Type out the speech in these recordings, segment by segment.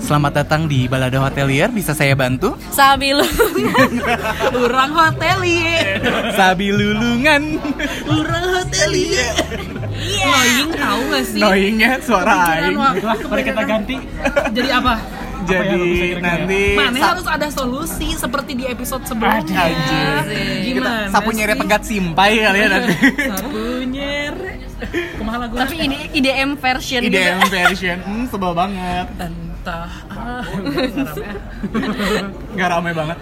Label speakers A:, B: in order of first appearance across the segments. A: Selamat datang di Balada Hotelier, bisa saya bantu?
B: Sabi lu Urang hoteli
A: Sabi lulungan
B: Urang hoteli Iya. Noying
A: Iya.
B: tahu gak sih?
A: Noingnya suara
B: Kepikiran
A: aing
B: waktu
C: Mari kita
B: kebenaran.
C: ganti
B: Jadi apa?
A: Jadi nanti
B: Mana
A: sa-
B: harus ada solusi seperti di episode sebelumnya
A: Anjir. kita
B: Gimana
A: sapu nyeret
B: sih?
A: pegat simpai kali ya nanti
B: Sapu nyeret Kumaha lagu
D: Tapi ini IDM version
A: IDM
D: gitu.
A: version, hmm, sebel banget
B: Entah ah.
A: Gak rame banget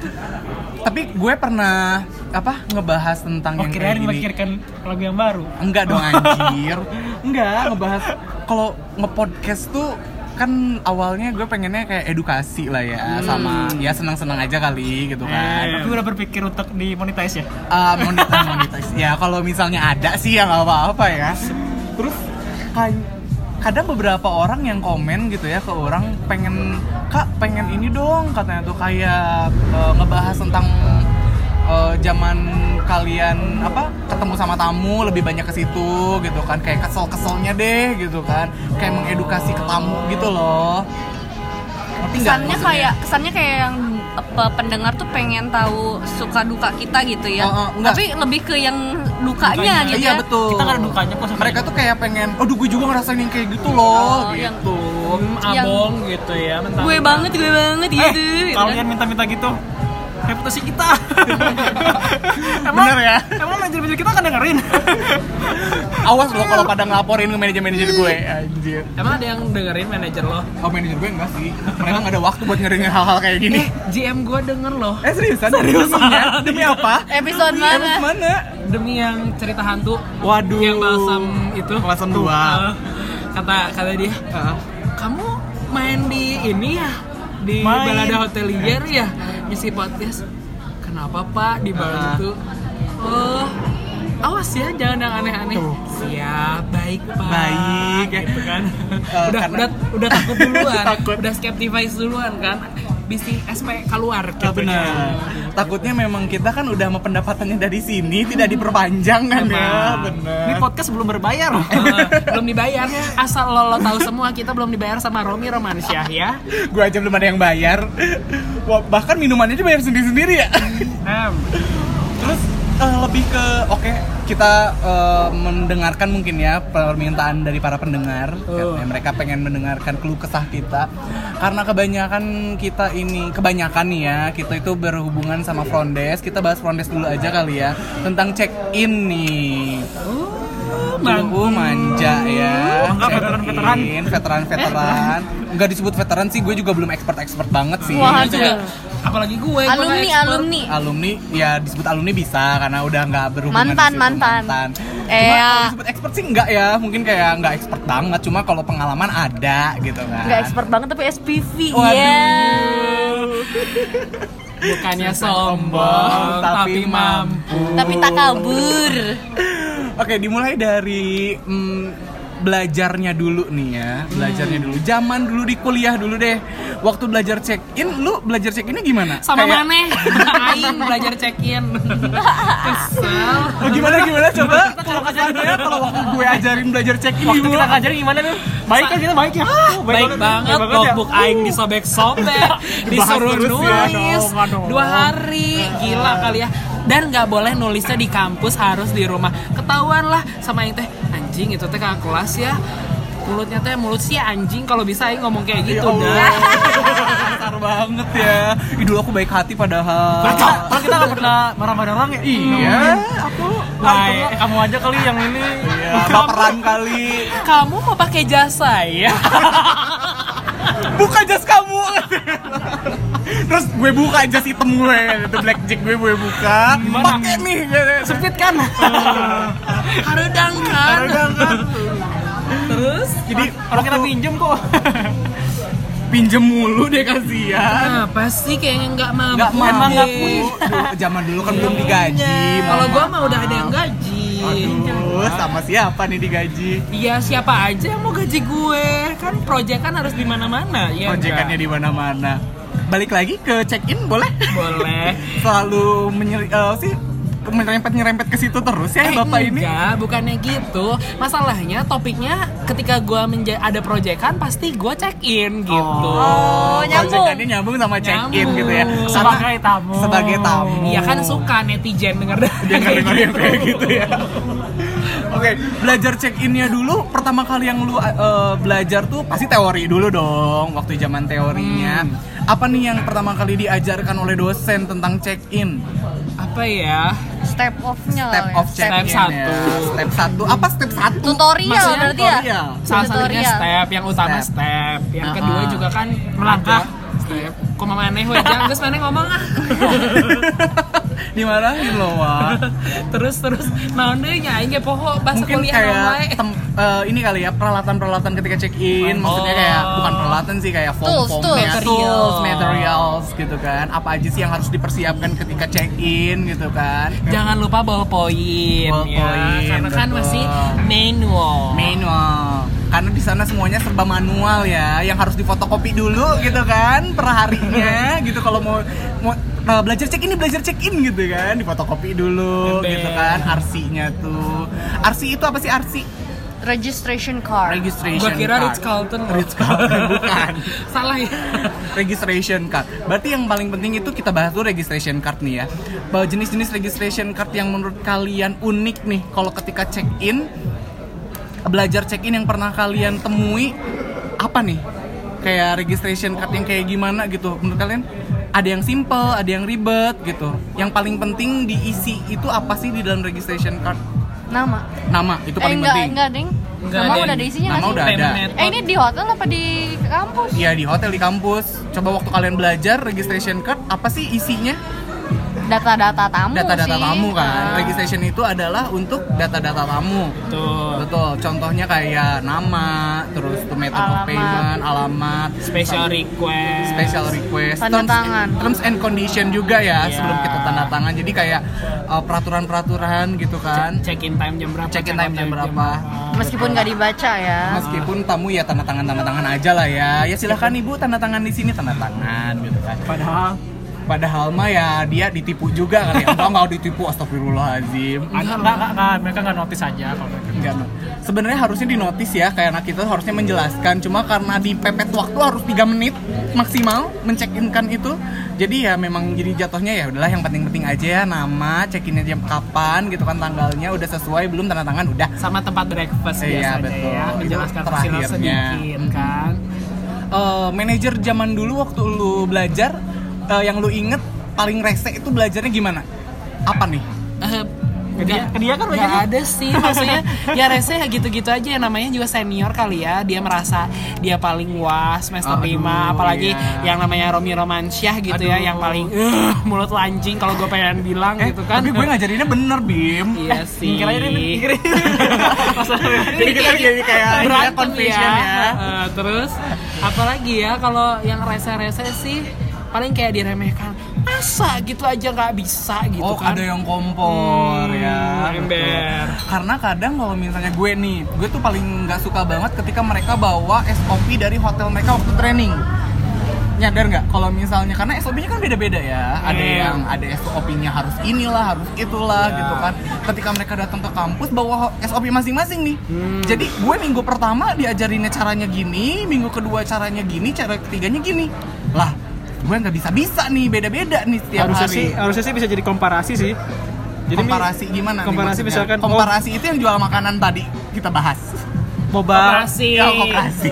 A: Tapi gue pernah apa ngebahas tentang
C: Oh
A: yang kayak
C: kirain
A: gini
C: memikirkan lagu yang baru
A: Enggak dong anjir Enggak, ngebahas Kalau ngepodcast tuh kan awalnya gue pengennya kayak edukasi lah ya sama ya senang-senang aja kali
C: Nah,
A: gitu kan
C: Tapi udah berpikir untuk dimonetize ya?
A: Eh, monet- monetis. ya kalau misalnya ada sih ya nggak apa-apa ya terus kan- kadang beberapa orang yang komen gitu ya ke orang pengen kak pengen ini dong katanya tuh kayak eh, ngebahas tentang eh, zaman kalian apa ketemu sama tamu lebih banyak ke situ gitu kan kayak kesel-keselnya deh gitu kan kayak mengedukasi ke tamu gitu loh Ngerti nggak
D: Kesannya
A: maksudnya?
D: kayak kesannya kayak yang apa, pendengar tuh pengen tahu suka duka kita gitu ya.
A: Oh, oh, enggak.
D: Tapi lebih ke yang dukanya,
C: Dukanya.
D: gitu
A: Iya
D: ya.
A: betul.
C: Kita nggak ada dukanya kok sama
A: Mereka
C: ini.
A: tuh kayak pengen, aduh gue juga ngerasain yang kayak gitu loh,
D: Oh, yang-
A: gitu.
C: Hmm,
D: Yang-
C: abong gitu ya mentang-
D: Gue banget, gue banget
C: Eh,
D: gitu.
B: Iya.
D: gitu kan.
C: kalian minta-minta gitu reputasi kita
A: Bener ya?
C: emang manajer-manajer kita akan dengerin
A: Awas loh kalau pada ngelaporin ke manajer-manajer gue, anjir.
C: emang ada yang dengerin manajer lo?
A: Oh manajer gue enggak sih, mereka nggak ada waktu buat ngeringin hal-hal kayak gini.
C: GM gue denger loh
A: Eh seriusan? Seriusan? Demi apa?
D: Episode
A: Iya,
D: mana?
A: Mana?
C: demi yang cerita hantu
A: Waduh.
C: yang balsam itu
A: Balsam dua.
C: Eh, kata kata dia
A: Ah,
C: kamu main di ini ya di
A: Main.
C: balada hotelier ya ngisi podcast kenapa pak di
A: Ah.
C: balada itu oh awas ya jangan yang aneh-aneh
A: Tuh.
C: siap baik pak
A: Baik.
C: gitu kan
A: Eh,
C: udah
A: karena-
C: udah udah takut duluan
A: Takut.
C: udah skeptifies duluan kan bisi SP keluar
A: Ah,
C: gitu
A: benar. Takutnya memang kita kan udah sama pendapatannya dari sini tidak diperpanjang kan
C: Iya,
A: ya. Benar.
C: Nah, Ini podcast belum berbayar. Eh, belum dibayar. Asal lo, lo tahu semua kita belum dibayar sama Romi Romansyah ya.
A: gue aja belum ada yang bayar Wah, bahkan minumannya dia bayar sendiri sendiri ya terus eh, lebih ke oke kita eh, mendengarkan mungkin ya permintaan dari para pendengar
C: Oh.
A: Katanya mereka pengen mendengarkan keluh kesah kita karena kebanyakan kita ini kebanyakan nih ya kita itu berhubungan sama front desk kita bahas front desk dulu aja kali ya tentang check in nih Bangku manja ya.
C: Enggak, veteran-veteran.
A: Check-in, Veteran-veteran. Enggak disebut veteran sih, gue juga belum expert-expert banget sih.
D: Wah,
C: Aduh.
D: juga.
C: Apalagi gue. gue
D: Alumni,
C: nggak expert.
D: alumni.
A: Alumni ya disebut alumni bisa karena udah nggak berhubungan
D: Mantan,
A: di situ,
D: mantan.
A: Cuma
D: Eh, ya.
A: kalau disebut expert sih enggak ya, mungkin kayak enggak expert banget, cuma kalau pengalaman ada gitu kan.
D: Nggak expert banget tapi SPV.
A: Waduh.
D: ya.
B: Iya.
C: Bukannya sombong, tapi mampu.
D: Tapi tak kabur.
A: Oke, dimulai dari mm, belajarnya dulu nih ya,
D: Hmm.
A: belajarnya dulu. Zaman dulu di kuliah dulu deh. Waktu belajar check in, lu belajar check innya gimana?
C: Sama
A: Kayak-
C: mana? Aing belajar check in. Kesel.
A: Oh, gimana gimana coba? Kalau kasarnya kalau waktu gue ajarin belajar check in
C: Waktu
A: gimana?
C: kita ngajarin gimana nih? Baik kan kita baik ya?
B: Ah,
C: baik, banget, ya. Iya. notebook aing disobek-sobek, disuruh
A: ya? Uh. terus ya,
C: nulis
A: dong, aduh.
C: dua hari, gila kali ya. Dan nggak boleh nulisnya di kampus, harus di rumah. Ketahuan lah sama yang teh anjing itu teh kakak kelas ya. Mulutnya teh mulut sih ya, anjing kalau bisa aing ngomong kayak
A: Ya
C: gitu
A: Allah,
C: dah.
A: kasar banget ya. Ih, dulu aku baik hati padahal.
C: Kalau kita nggak pernah marah-marah orang ya.
A: Iya, aku
C: Wah, eh, kamu aja kali yang ini.
A: ya, baperan kali.
C: Kamu mau pakai jasa ya?
A: Buka jas kamu. Terus gue buka jas hitam gue, itu black jack gue gue buka.
C: Gimana?
A: Pakai nih. gitu.
C: Sempit kan? Harudang kan?
A: Kadang kan.
C: Terus?
A: Jadi
C: Kalau kita pinjem kok.
A: pinjem mulu deh kasihan.
C: Kenapa sih kayaknya nggak mampu?
A: Enggak
C: deh.
A: emang enggak Zaman dulu kan belum digaji.
C: Iya. Kalau
A: mohon
C: gua mah udah ada yang gaji.
A: Aduh, sama siapa nih digaji?
C: Iya siapa aja yang mau gaji gue kan project kan harus di mana-mana ya. nggak?
A: Proyekannya di mana-mana. Balik lagi ke check-in boleh?
C: boleh.
A: Selalu menyeri eh, sih nyerempet nyerempet ke situ terus ya bapak ini
C: Eh, enggak, bukannya gitu. Masalahnya topiknya ketika gua menja- ada proyekan pasti gua check in gitu.
D: Oh, nyambung.
A: Proyekannya nyambung sama check in
C: Nyambung.
A: gitu ya. Karena-
E: Sebagai tamu.
A: Sebagai tamu.
C: Iya kan suka netizen denger
A: Dia nggak dengar yang kayak gitu ya. Oke, belajar check innya dulu. Pertama kali yang lu eh, belajar tuh pasti teori dulu dong. Waktu zaman teorinya.
C: Hmm.
A: Apa nih yang pertama kali diajarkan oleh dosen tentang check in?
C: Apa ya?
D: Step off-nya lah
A: Oh, Step
D: ya.
A: of check in.
C: Step satu.
A: Step satu. Apa step satu?
D: Tutorial
C: Maksudnya
D: berarti ya?
A: tutorial.
C: Salah satunya
D: Tutorial.
C: step, yang utama
A: Step.
C: step, yang
A: Ah,
C: kedua
A: ah.
C: juga kan
E: Melangkah.
C: ada Step. Kok mama aneh weh, jangan terus aneh ngomong ah.
A: Dimarahin loh, Wak.
C: terus terus naon deui nya aing ge poho bahasa
A: mungkin
C: kuliah
A: kayak
C: naon wae.
A: tem- eh, ini kali ya peralatan-peralatan ketika check in
C: Oh.
A: maksudnya kayak bukan peralatan sih kayak
D: Tools,
A: form-form
D: tools.
A: tools,
C: Materials.
A: materials gitu kan apa aja sih yang harus dipersiapkan ketika check in gitu kan
C: Jangan lupa bawa poin
A: Bawa
C: ya,
A: poin,
C: karena kan
A: betul.
C: masih manual.
A: manual karena di sana semuanya serba manual ya yang harus difotokopi
C: Iya.
A: dulu gitu kan perharinya gitu kalau mau mau nah, belajar check in belajar check in gitu kan difotokopi dulu
C: Bener.
A: gitu kan RC-nya tuh RC itu apa sih RC
D: Registration card.
A: registration
C: Gua kira
A: card.
C: Ritz Carlton.
A: Ritz Carlton bukan
C: Salah ya.
A: registration card. Berarti yang paling penting itu kita bahas dulu registration card nih ya. Bahwa jenis-jenis registration card yang menurut kalian unik nih kalau ketika check in belajar check in yang pernah kalian temui apa nih? Kayak registration card yang kayak gimana gitu menurut kalian? Ada yang simple, ada yang ribet gitu. Yang paling penting diisi itu apa sih di dalam registration card?
D: Nama.
A: Nama itu
D: Eh
A: paling
D: enggak,
A: penting.
D: enggak, Ding.
C: Enggak,
D: Nama
C: Ding.
D: udah ada isinya
A: Nama
D: nggak sih?
A: udah ada.
C: Payment
D: Eh ini di hotel apa di kampus?
A: Iya di hotel di kampus. Coba waktu kalian belajar registration card apa sih isinya?
D: Data-data tamu
A: data-data
D: Oh, sih.
A: tamu kan.
D: Ah.
A: Registration itu adalah untuk data-data tamu.
C: Tuh.
A: Betul. Contohnya kayak nama, terus tuh method of
D: Alamat.
A: payment, alamat,
C: Special request.
A: special request,
D: Tanda
A: terms,
D: tangan.
A: terms and condition juga ya
C: Iya.
A: sebelum kita tanda tangan. Jadi kayak uh, peraturan-peraturan gitu kan.
C: Check in time jam berapa?
A: Check-in
C: out
A: time jam berapa.
D: Meskipun nggak dibaca ya.
A: Meskipun tamu ya tanda tangan tanda tangan aja lah ya. Ya silahkan ibu tanda tangan di sini tanda tangan gitu kan.
E: Padahal
A: Padahal mah ya dia ditipu juga kali ya. Enggak mau ditipu astagfirullahalazim.
E: ada nggak nggak nggak mereka nggak notice aja kalau kayak gitu.
A: Enggak. Mak. Sebenarnya harusnya dinotis ya, kayak anak kita harusnya menjelaskan. Cuma karena dipepet waktu harus 3 menit maksimal mencekinkan itu. Jadi ya memang jadi jatuhnya ya udahlah yang penting-penting aja ya nama, cekinnya jam kapan gitu kan tanggalnya udah sesuai belum tanda tangan udah.
C: Sama tempat
A: Iya,
C: breakfast biasanya
A: betul.
C: ya,
A: Itu
C: menjelaskan hasilnya
A: terakhirnya.
C: sedikit kan.
A: Eh, manajer zaman dulu waktu lu belajar eh, yang lu inget paling rese itu belajarnya gimana? Apa nih?
C: Eh,
E: Ke dia-
C: nggak-
E: ke dia kan
C: nggak
E: banyaknya.
C: ada sih maksudnya ya rese ya gitu-gitu aja ya namanya juga senior kali ya dia merasa dia paling wah semester
A: Aduh,
C: 5 apalagi
A: iya.
C: yang namanya Romi Romansyah gitu ya
A: Aduh.
C: yang paling "Eh, mulut lancing kalau gue pengen bilang
A: Eh,
C: gitu kan
A: tapi gue ngajarinnya bener, Bim. Eh,
C: iya sih Iya,
E: Mikir aja deh, mikir aja.
A: Jadi kita jadi kayak ini ya,
C: berantem ya.
A: confession ya.
C: Heeh, terus apalagi ya kalau yang rese-rese sih paling kayak diremehkan. Masa gitu aja nggak bisa gitu
A: oh,
C: kan.
A: ada yang kompor
C: Hmm,
A: ya.
C: ember.
A: betul. Karena kadang kalau misalnya gue nih, gue tuh paling nggak suka banget ketika mereka bawa SOP dari hotel mereka waktu training. Nyadar nggak? Kalau misalnya karena SOP-nya kan beda-beda ya. Ada
C: Hmm.
A: yang ada SOP-nya harus inilah, harus itulah
C: Ya.
A: gitu kan. Ketika mereka datang ke kampus bawa ho- SOP masing-masing nih.
C: Hmm.
A: Jadi gue minggu pertama diajarinnya caranya gini, minggu kedua caranya gini, cara ketiganya gini. Lah, gue nggak bisa-bisa nih, beda-beda nih setiap
E: harusnya
A: hari
E: sih harusnya sih bisa jadi komparasi sih. Jadi mi-
A: komparasi oh. gimana? nih
E: Komparasi
A: maksudnya?
E: misalkan komparasi
A: komparasi itu yang jual makanan tadi kita bahas.
E: boba.
C: Operasi.
A: Ya, operasi.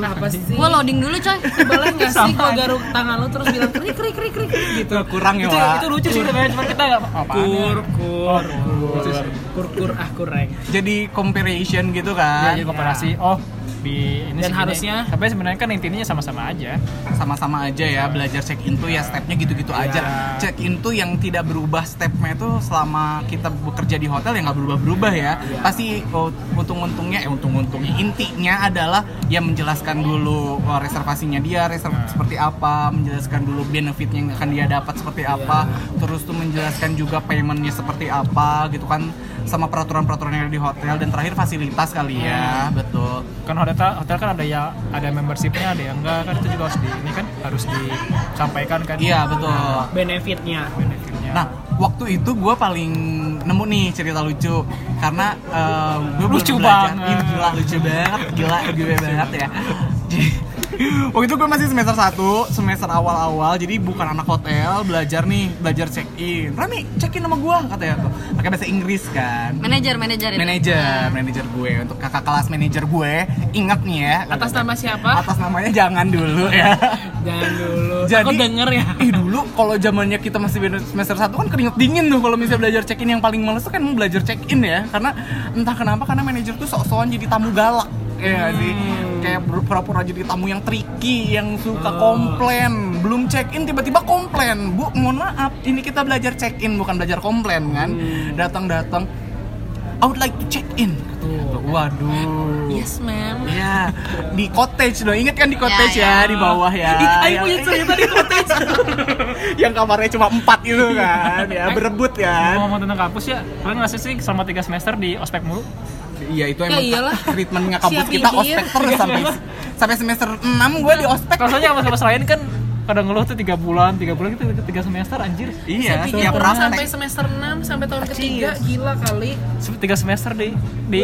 C: Kenapa sih?
D: Gua loading dulu coy.
C: boleh nggak sih gua garuk tangan lu terus bilang krik krik krik krik
A: Itu
C: gitu.
A: kurang ya,
C: Itu,
A: Wak.
C: itu lucu sih sebenarnya cuma kita nggak
A: Apaan ya?
C: kur
E: Oh,
C: kur kur kur ah kurang.
A: Jadi comparison gitu
E: Ya,
A: kan.
E: jadi komparasi. Oh, di ini
C: Dan
E: segini.
C: harusnya-
E: tapi sebenarnya kan intinya sama-sama aja.
A: Sama-sama aja ya belajar check in tuh ya stepnya gitu-gitu aja. Check in tuh yang tidak berubah stepnya itu selama kita bekerja di hotel ya nggak berubah-berubah ya. Pasti oh, untung-untungnya eh untung-untungnya intinya adalah ya menjelaskan dulu oh, reservasinya dia, reserv seperti apa, menjelaskan dulu benefitnya yang akan dia dapat seperti apa, terus tuh menjelaskan juga paymentnya seperti apa gitu kan sama peraturan-peraturan yang ada di hotel dan terakhir fasilitas kali ya, betul.
E: Kan hotel hotel kan ada ya ada membershipnya, ada yang enggak kan itu juga harus di ini kan harus disampaikan kan.
A: Iya, betul.
C: Benefitnya.
E: Benefitnya.
A: Nah, waktu itu gue paling nemu nih cerita lucu karena eh, gue baru
C: Lucu
A: belajar.
C: banget.
A: Ih, gila lucu banget gila gue banget ya Jadi, Waktu itu gue masih semester 1, semester awal-awal, jadi bukan anak hotel, belajar nih, belajar check-in. Rami, check-in sama gue, katanya tuh. Pakai bahasa Inggris kan.
D: manajer manajer ya? itu.
A: Manajer, manajer gue, untuk kakak kelas manajer gue, ingat nih ya.
C: Atas nama siapa?
A: Atas namanya jangan dulu ya.
C: Jangan dulu.
A: Jadi-
C: Aku denger ya.
A: Ih dulu kalau zamannya kita masih bener- semester 1 kan keringet dingin tuh kalau misalnya belajar check-in yang paling males tuh kan emang belajar check-in ya karena entah kenapa karena manajer tuh sok-sokan jadi tamu galak ya sih
C: Hmm.
A: kayak ber- pura-pura jadi tamu yang tricky yang suka komplain belum check-in tiba-tiba komplain bu mohon maaf ini kita belajar check-in bukan belajar komplain kan
C: Hmm.
A: datang-datang I would like to check-in waduh
D: yes ma'am
A: Ya, di cottage loh. Ingat kan di cottage ya,
D: Ya, ya.
A: di bawah ya.
C: Ih, Ayo
A: Yang-
C: punya cerita di cottage.
A: yang kamarnya cuma empat itu kan, ya berebut kan.
E: Ngomong tentang kampus ya, kalian ngasih sih selama 3 semester di ospek mulu?
A: Iya itu
C: Ya
A: emang
C: iyalah.
A: treatmentnya kampus
C: Siap
A: kita
C: pikir.
A: ospek terus sampai sampai semester 6 gue di ospek.
E: Rasanya sama kampus lain kan kadang ngeluh tuh 3 bulan, 3 bulan itu 3 semester anjir.
A: Iya,
C: Tapi
A: tiap
C: kurang sampai
A: praktek.
C: semester 6 sampai tahun ketiga gila kali.
E: 3 semester di di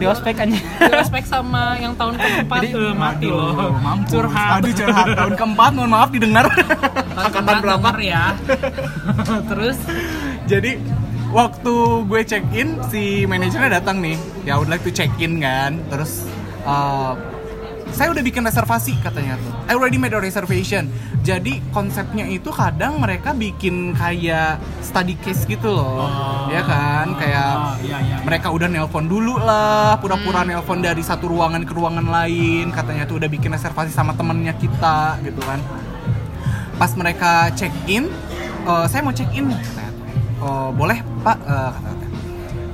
E: di ospek anjir.
C: Respect sama yang tahun keempat
E: Jadi,
C: eh, mati
A: Aduh,
C: loh.
A: mampus.
C: Curhat.
A: Aduh, curhat. Tahun keempat, mohon maaf didengar. Angkatan
C: Keempat
A: berapa?
C: denger ya? Terus
A: Jadi waktu gue check in si manajernya datang nih. Ya I would like to check in kan. Terus uh, saya udah bikin reservasi katanya tuh. I already made a reservation. Jadi konsepnya itu kadang mereka bikin kayak study case gitu loh. ya kan? Kayak
E: Oh. iya, iya. Hmm.
A: mereka udah nelpon dulu lah, pura-pura nelpon dari satu ruangan ke ruangan lain. Katanya tuh udah bikin reservasi sama temennya kita gitu kan pas mereka check in eh, saya mau check in oh boleh pak Eh, kata- kata.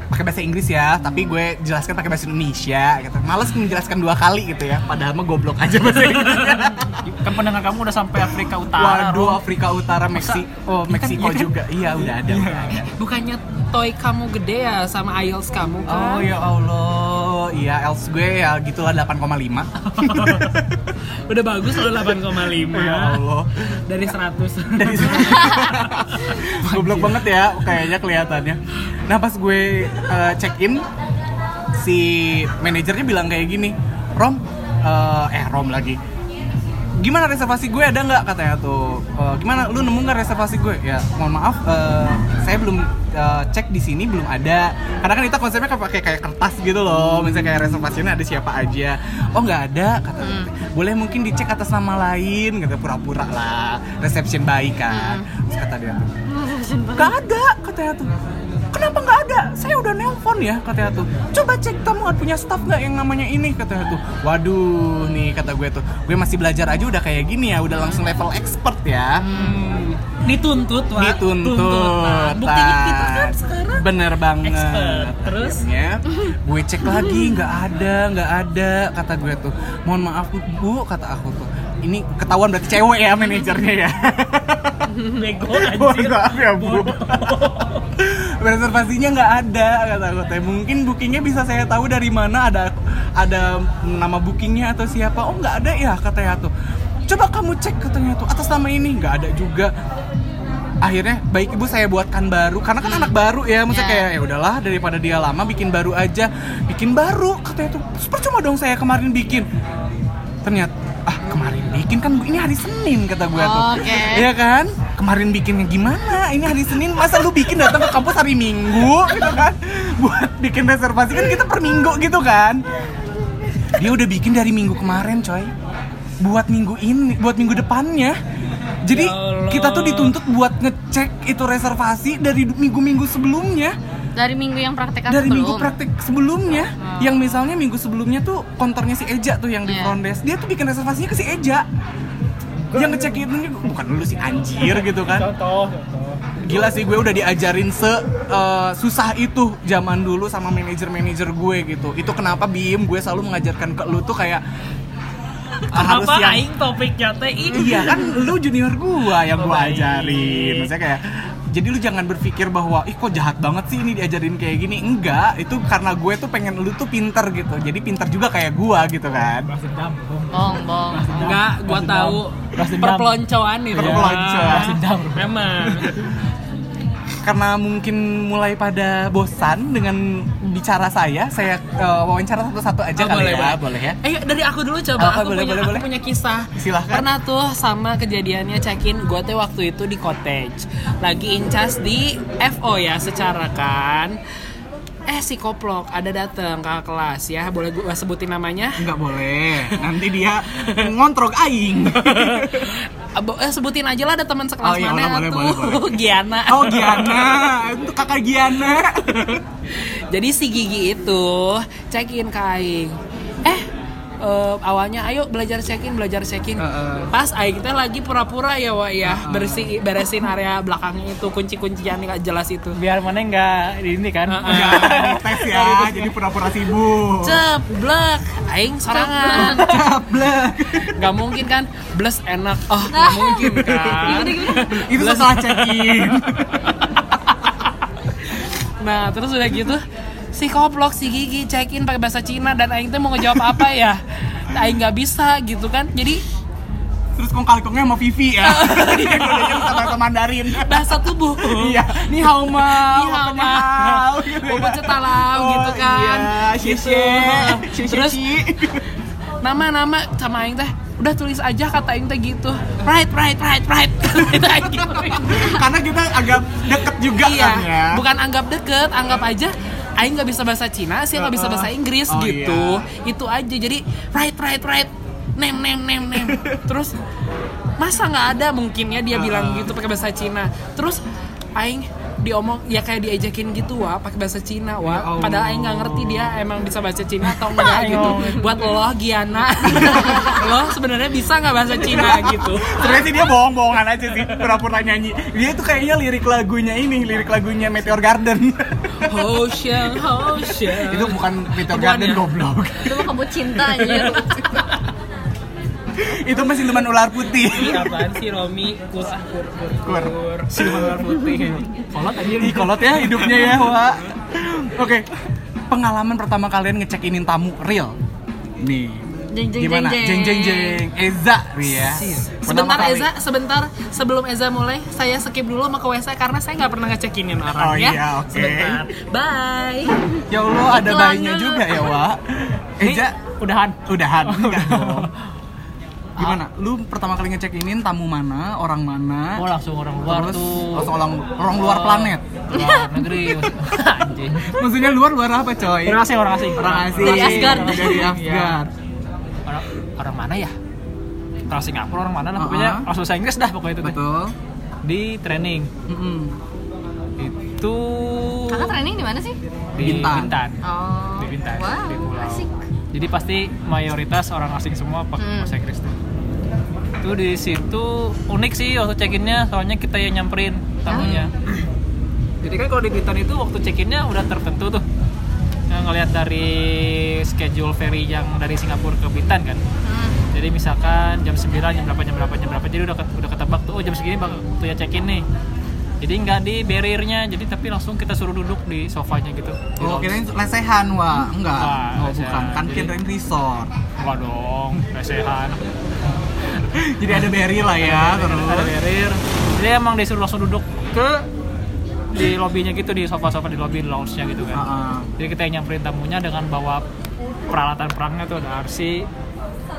A: pakai bahasa Inggris ya tapi gue jelaskan pakai bahasa Indonesia gitu males menjelaskan dua kali gitu ya padahal mah goblok aja bahasa Inggris
E: Kan pendengar kamu udah sampai Afrika Utara.
A: waduh
E: Rom.
A: Afrika Utara Meksi oh Meksiko juga iya udah ada udah ada
C: bukannya toy kamu gede ya sama IELTS kamu kan?
A: oh ya Allah iya else gue ya gitulah 8,5
C: Udah bagus udah 8,5.
A: ya Allah
C: Dari 100.
A: dari situ. goblok banget ya kayaknya kelihatannya nah pas gue check in si manajernya bilang kayak gini Rom eh, eh Rom lagi gimana reservasi gue ada nggak katanya tuh "Eh, gimana lu nemu nggak reservasi gue ya mohon maaf eh, saya belum eh, cek di sini belum ada karena kan kita konsepnya kayak pakai kayak kertas gitu loh misalnya kayak reservasinya ada siapa aja oh nggak ada kata boleh mungkin dicek atas nama lain kata pura-pura lah reception baik kan terus kata dia tuh nggak ada katanya tuh kenapa nggak ada saya udah nelpon ya katanya tuh coba cek kamu ada punya staff nggak yang namanya ini katanya tuh waduh nih kata gue tuh gue masih belajar aja udah kayak gini ya udah langsung level expert ya
C: Hmm, Dituntut, Wak.
A: dituntut
C: Tuntutan. Nah, Buktinya kita kan sekarang
A: bener banget
C: expert. Terus? Hmm.
A: Akhirnya, gue cek lagi nggak ada nggak ada kata gue tuh mohon maaf bu kata aku tuh ini ketahuan berarti cewek ya manajernya ya
C: bego
A: Mohon
C: anjir.
A: maaf ya bu Reservasinya nggak ada kata aku teh. Mungkin bookingnya bisa saya tahu dari mana ada ada nama bookingnya atau siapa? Oh nggak ada ya katanya tuh. Coba kamu cek katanya tuh atas nama ini nggak ada juga. Akhirnya baik ibu saya buatkan baru karena kan anak baru ya maksudnya
D: Ya.
A: kayak ya udahlah daripada dia lama bikin baru aja bikin baru katanya tuh Terus percuma dong saya kemarin bikin ternyata ah kemarin bikin kan ini hari Senin kata gue tuh
D: Oke.
A: Iya kan kemarin bikinnya gimana ini hari Senin masa lu bikin datang ke kampus hari Minggu gitu kan buat bikin reservasi kan kita per minggu gitu kan dia udah bikin dari minggu kemarin coy buat minggu ini buat minggu depannya jadi
C: Ya Allah.
A: kita tuh dituntut buat ngecek itu reservasi dari minggu-minggu sebelumnya
D: dari minggu yang praktek
A: dari
D: sebelum. Ah.
A: minggu praktik sebelumnya yang misalnya minggu sebelumnya tuh kontornya si Eja tuh yang di
D: Iya.
A: front desk dia tuh bikin reservasinya ke si Eja yang ngecek itu bukan lu sih anjir gitu kan
E: Contoh.
A: gila sih gue udah diajarin se eh, susah itu zaman dulu sama manajer-manajer gue gitu itu kenapa Bim gue selalu mengajarkan ke lu tuh kayak "Ah, harus
C: Apa
A: yang
C: aing topiknya teh ini?
A: Iya kan lu junior gua yang
C: Oh,
A: gua
C: baik.
A: ajarin. Maksudnya kayak jadi lu jangan berpikir bahwa ih kok jahat banget sih ini diajarin kayak gini. Enggak, itu karena gue tuh pengen lu tuh pinter gitu. Jadi pinter juga kayak gua gitu kan.
D: bong bong
C: Enggak, gua tahu ya.
E: Balas dendam.
C: perpeloncoan itu.
A: Perpeloncoan.
C: Emang.
A: karena mungkin mulai pada bosan dengan bicara saya, saya eh, wawancara satu-satu aja
C: Oh,
A: kali
C: boleh,
A: ya.
C: boleh.
A: boleh ya.
C: Ayo Eh, dari aku dulu
A: Oh,
C: coba. aku
A: boleh,
C: punya
A: boleh,
C: aku
A: boleh.
C: punya kisah.
A: Silahkan.
C: Pernah tuh sama kejadiannya check-in gue teh waktu itu di cottage. Lagi incas di FO ya secara kan. Eh si koplok ada dateng ke kelas ya. Boleh gue sebutin namanya?
A: Nggak boleh. Nanti dia ngontrok aing.
C: Abo- eh, sebutin aja lah ada teman sekelas
A: Oh, iya,
C: mana
A: boleh, boleh,
C: tuh.
A: boleh, boleh.
C: Giana.
A: Oh Giana, itu kakak Giana.
C: Jadi si Gigi itu check-in ke Aing. Eh, eh, awalnya ayo belajar check-in, belajar check-in.
A: Heeh.
C: Pas Aing teh lagi pura-pura ya Wak ya, bersih beresin area belakangnya itu kunci-kuncian nggak jelas itu.
E: biar mana nggak di ini kan
C: Heeh.
A: Nggak, Nah, tes ya, jadi pura-pura sibuk.
C: Ceblek, Aing sorangan.
A: Ceblek.
C: Gak mungkin kan, bles enak. Oh, gak mungkin kan.
A: Itu setelah check-in.
C: Nah, terus udah gitu si koplok si gigi check in pakai bahasa Cina dan aing teh mau ngejawab apa ya? Aing nggak bisa gitu kan. Jadi
A: Terus kong kali kongnya sama Vivi ya. Dia belajar sama Mandarin.
C: bahasa tubuh.
A: Iya, ni hao ma.
C: Ni hao ma. Opo cetalau gitu kan.
A: Oh, Iya, xie
C: Gitu.
A: xie. Terus
C: Terus nama-nama sama aing teh udah tulis aja kata aing teh gitu. Right, right, right, right. Kata aing gitu. gituin.
A: karena kita agak deket juga
C: Iya,
A: kan ya.
C: bukan anggap deket, anggap aja Aing nggak bisa bahasa Cina, sih nggak bisa bahasa Inggris
A: Oh,
C: gitu. Itu aja, jadi right, right, right, name, name, name, name. Terus masa nggak ada mungkinnya dia bilang gitu pakai bahasa Cina. Terus Aing diomong ya kayak diajakin gitu wah pakai bahasa Cina wah
A: Ya Allah. Ya
C: padahal Aing nggak ngerti dia emang bisa bahasa Cina atau enggak gitu buat lo Giana lo sebenarnya bisa nggak bahasa Cina gitu
A: Sebenarnya sih dia bohong-bohongan aja sih, pura-pura nyanyi. Dia tuh kayaknya lirik lagunya ini, lirik lagunya Meteor Garden.
C: Ho Xiang Ho Xiang
A: Itu bukan Meteor
C: Bukan
A: Garden
C: ya?
A: goblok.
D: Itu mah kabut cinta anjir.
A: Itu mah siluman ular putih.
C: Ini apaan sih Romi? Kus, kur, kur,
A: Kur.
C: kur. Siluman ular putih.
A: Kolot aja nih, kolot ya hidupnya ya, Wak. Oke. Pengalaman pertama kalian ngecekinin tamu real. Nih.
D: Jeng, jeng,
A: Gimana?
D: jeng,
A: Jeng
D: jeng.
A: jeng jeng. Eza, Ria. Iya. Pertama
C: Sebentar
A: kali.
C: Eza, sebentar sebelum Eza mulai, saya skip dulu sama ke WC karena saya nggak pernah ngecekinin orang
A: Oh
C: ya.
A: iya, oke.
C: Sebentar. Bye.
A: Ya Allah, ada
D: Iklan
A: bayinya
D: dulu.
A: juga ya, Wak. Eza,
E: udahan
A: udahan. Enggak dong. Gimana? Lu pertama kali ngecekinin tamu mana, orang mana?
E: mau Oh, langsung orang luar
A: terus
E: tuh
A: langsung orang, orang luar planet.
E: luar negeri anjing
A: Maksudnya luar luar apa, coy?
E: orang asing orang asing
A: Orang asing.
D: Dari Asgard.
A: Dari
E: Iya.
A: Asgard.
E: orang, orang mana ya orang Singapura orang mana lah
A: Uh-uh.
E: pokoknya langsung bahasa Inggris dah pokoknya itu teh.
A: Betul.
E: di training
A: Mm-mm.
E: itu
D: Kakak training di mana sih?
E: di
A: Bintan.
E: Bintan.
D: Oh.
E: Di Bintan,
D: Wow,
E: di pulau.
D: asik.
E: jadi pasti mayoritas orang asing semua pakai
D: Hmm.
E: bahasa Inggris tuh itu di situ unik sih waktu check-innya soalnya kita yang
D: Oh,
E: nyamperin
D: iya.
E: tamunya jadi kan kalau di Bintan itu waktu check-innya udah tertentu tuh Nah, ngelihat dari schedule ferry yang dari Singapura ke Bintan kan
D: Hmm.
E: jadi misalkan jam 9, jam berapa, jam berapa, jam berapa Jadi udah ket- udah ketebak tuh, oh jam segini bak- waktunya check-in nih Jadi nggak di barriernya, jadi tapi langsung kita suruh duduk di sofanya gitu Di
A: Oh,
E: lounge.
A: kirain lesehan, Wak. Enggak.
E: Enggak,
A: Oh,
E: lesehan.
A: bukan. Kan
E: Jadi-
A: kirain resort.
E: Enggak dong, lesehan
A: Jadi ada berry lah ya, terus.
E: Ada barrier Jadi emang disuruh langsung duduk ke di lobbynya gitu, di sofa-sofa di lobby lounge-nya gitu kan
A: Heeh.
E: Jadi kita yang nyamperin tamunya dengan bawa peralatan perangnya tuh ada RC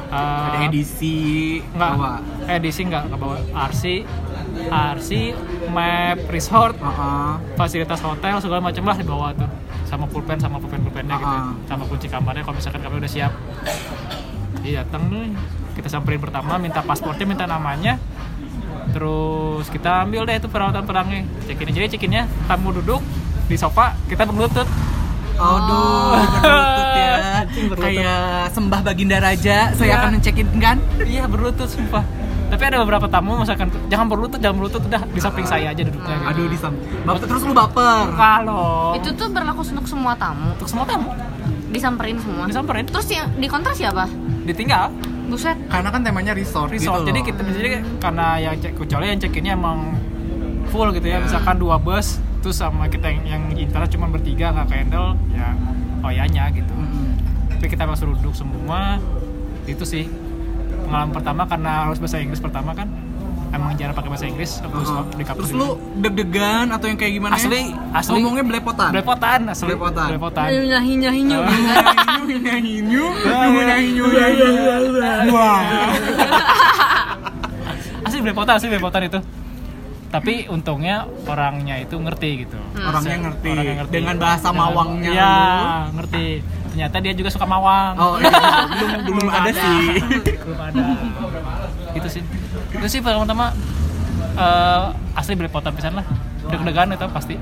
E: uh,
A: Ada edisi.
E: Enggak,
A: bawa.
E: edisi enggak, enggak bawa RC RC, map, resort,
A: Heeh.
E: fasilitas hotel segala macam lah dibawa tuh sama pulpen sama pulpen pulpennya gitu
A: Ah.
E: sama kunci kamarnya kalau misalkan kami udah siap dia datang nih kita samperin pertama minta paspornya minta namanya terus kita ambil deh itu peralatan perangnya check in jadi check innya tamu duduk di sofa kita berlutut
A: Aduh, berlutut ya.
E: Oh. Anjing, berlutut.
A: Kayak sembah baginda raja, saya
E: Iya.
A: akan ngecekin kan?
E: iya berlutut sumpah tapi ada beberapa tamu misalkan jangan berlutut jangan berlutut udah di samping saya aja duduknya gitu.
A: Aduh, di sam- Baper terus lu baper.
E: kalau
D: Itu tuh berlaku untuk semua tamu,
E: untuk semua tamu
D: disamperin semua.
E: disamperin
D: Terus yang di kontra siapa?
E: ditinggal
D: Buset.
A: Karena kan temanya resort,
E: resort.
A: gitu
E: jadi
A: loh.
E: kita jadi karena yang cek kecuali yang check-innya emang full gitu ya. Misalkan dua bus terus sama kita yang yang internet cuma bertiga nggak handle ya oyanya gitu.
A: Mm-mm.
E: Tapi kita emang suruh duduk semua. Itu sih pengalaman pertama karena harus bahasa Inggris pertama kan. emang jarang pakai bahasa Inggris aku suap di kampus
A: Uh-huh. Uh-uh. Terus lu
E: gitu.
A: deg-degan atau yang kayak gimana?
E: Asli- asli.
A: Ngomongnya belepotan.
E: belepotan asli
A: Belepotan.
E: Kan.
D: nyahi nyahi nyahi
A: Nyanyi-nyu, nyanyi-nyu, nyanyi-nyu. Wah.
E: asli belepotan asli belepotan itu tapi untungnya orangnya itu ngerti gitu
A: Hmm. Orangnya ngerti.
E: Orangnya
A: Dengan bahasa mawangnya
E: iya
A: lu.
E: ngerti ternyata dia juga suka mawang
A: Oh, iya. belum belum ada sih.
E: belum ada itu sih itu sih pertama-tama eh, asli belepotan pisan lah deg-degan itu pasti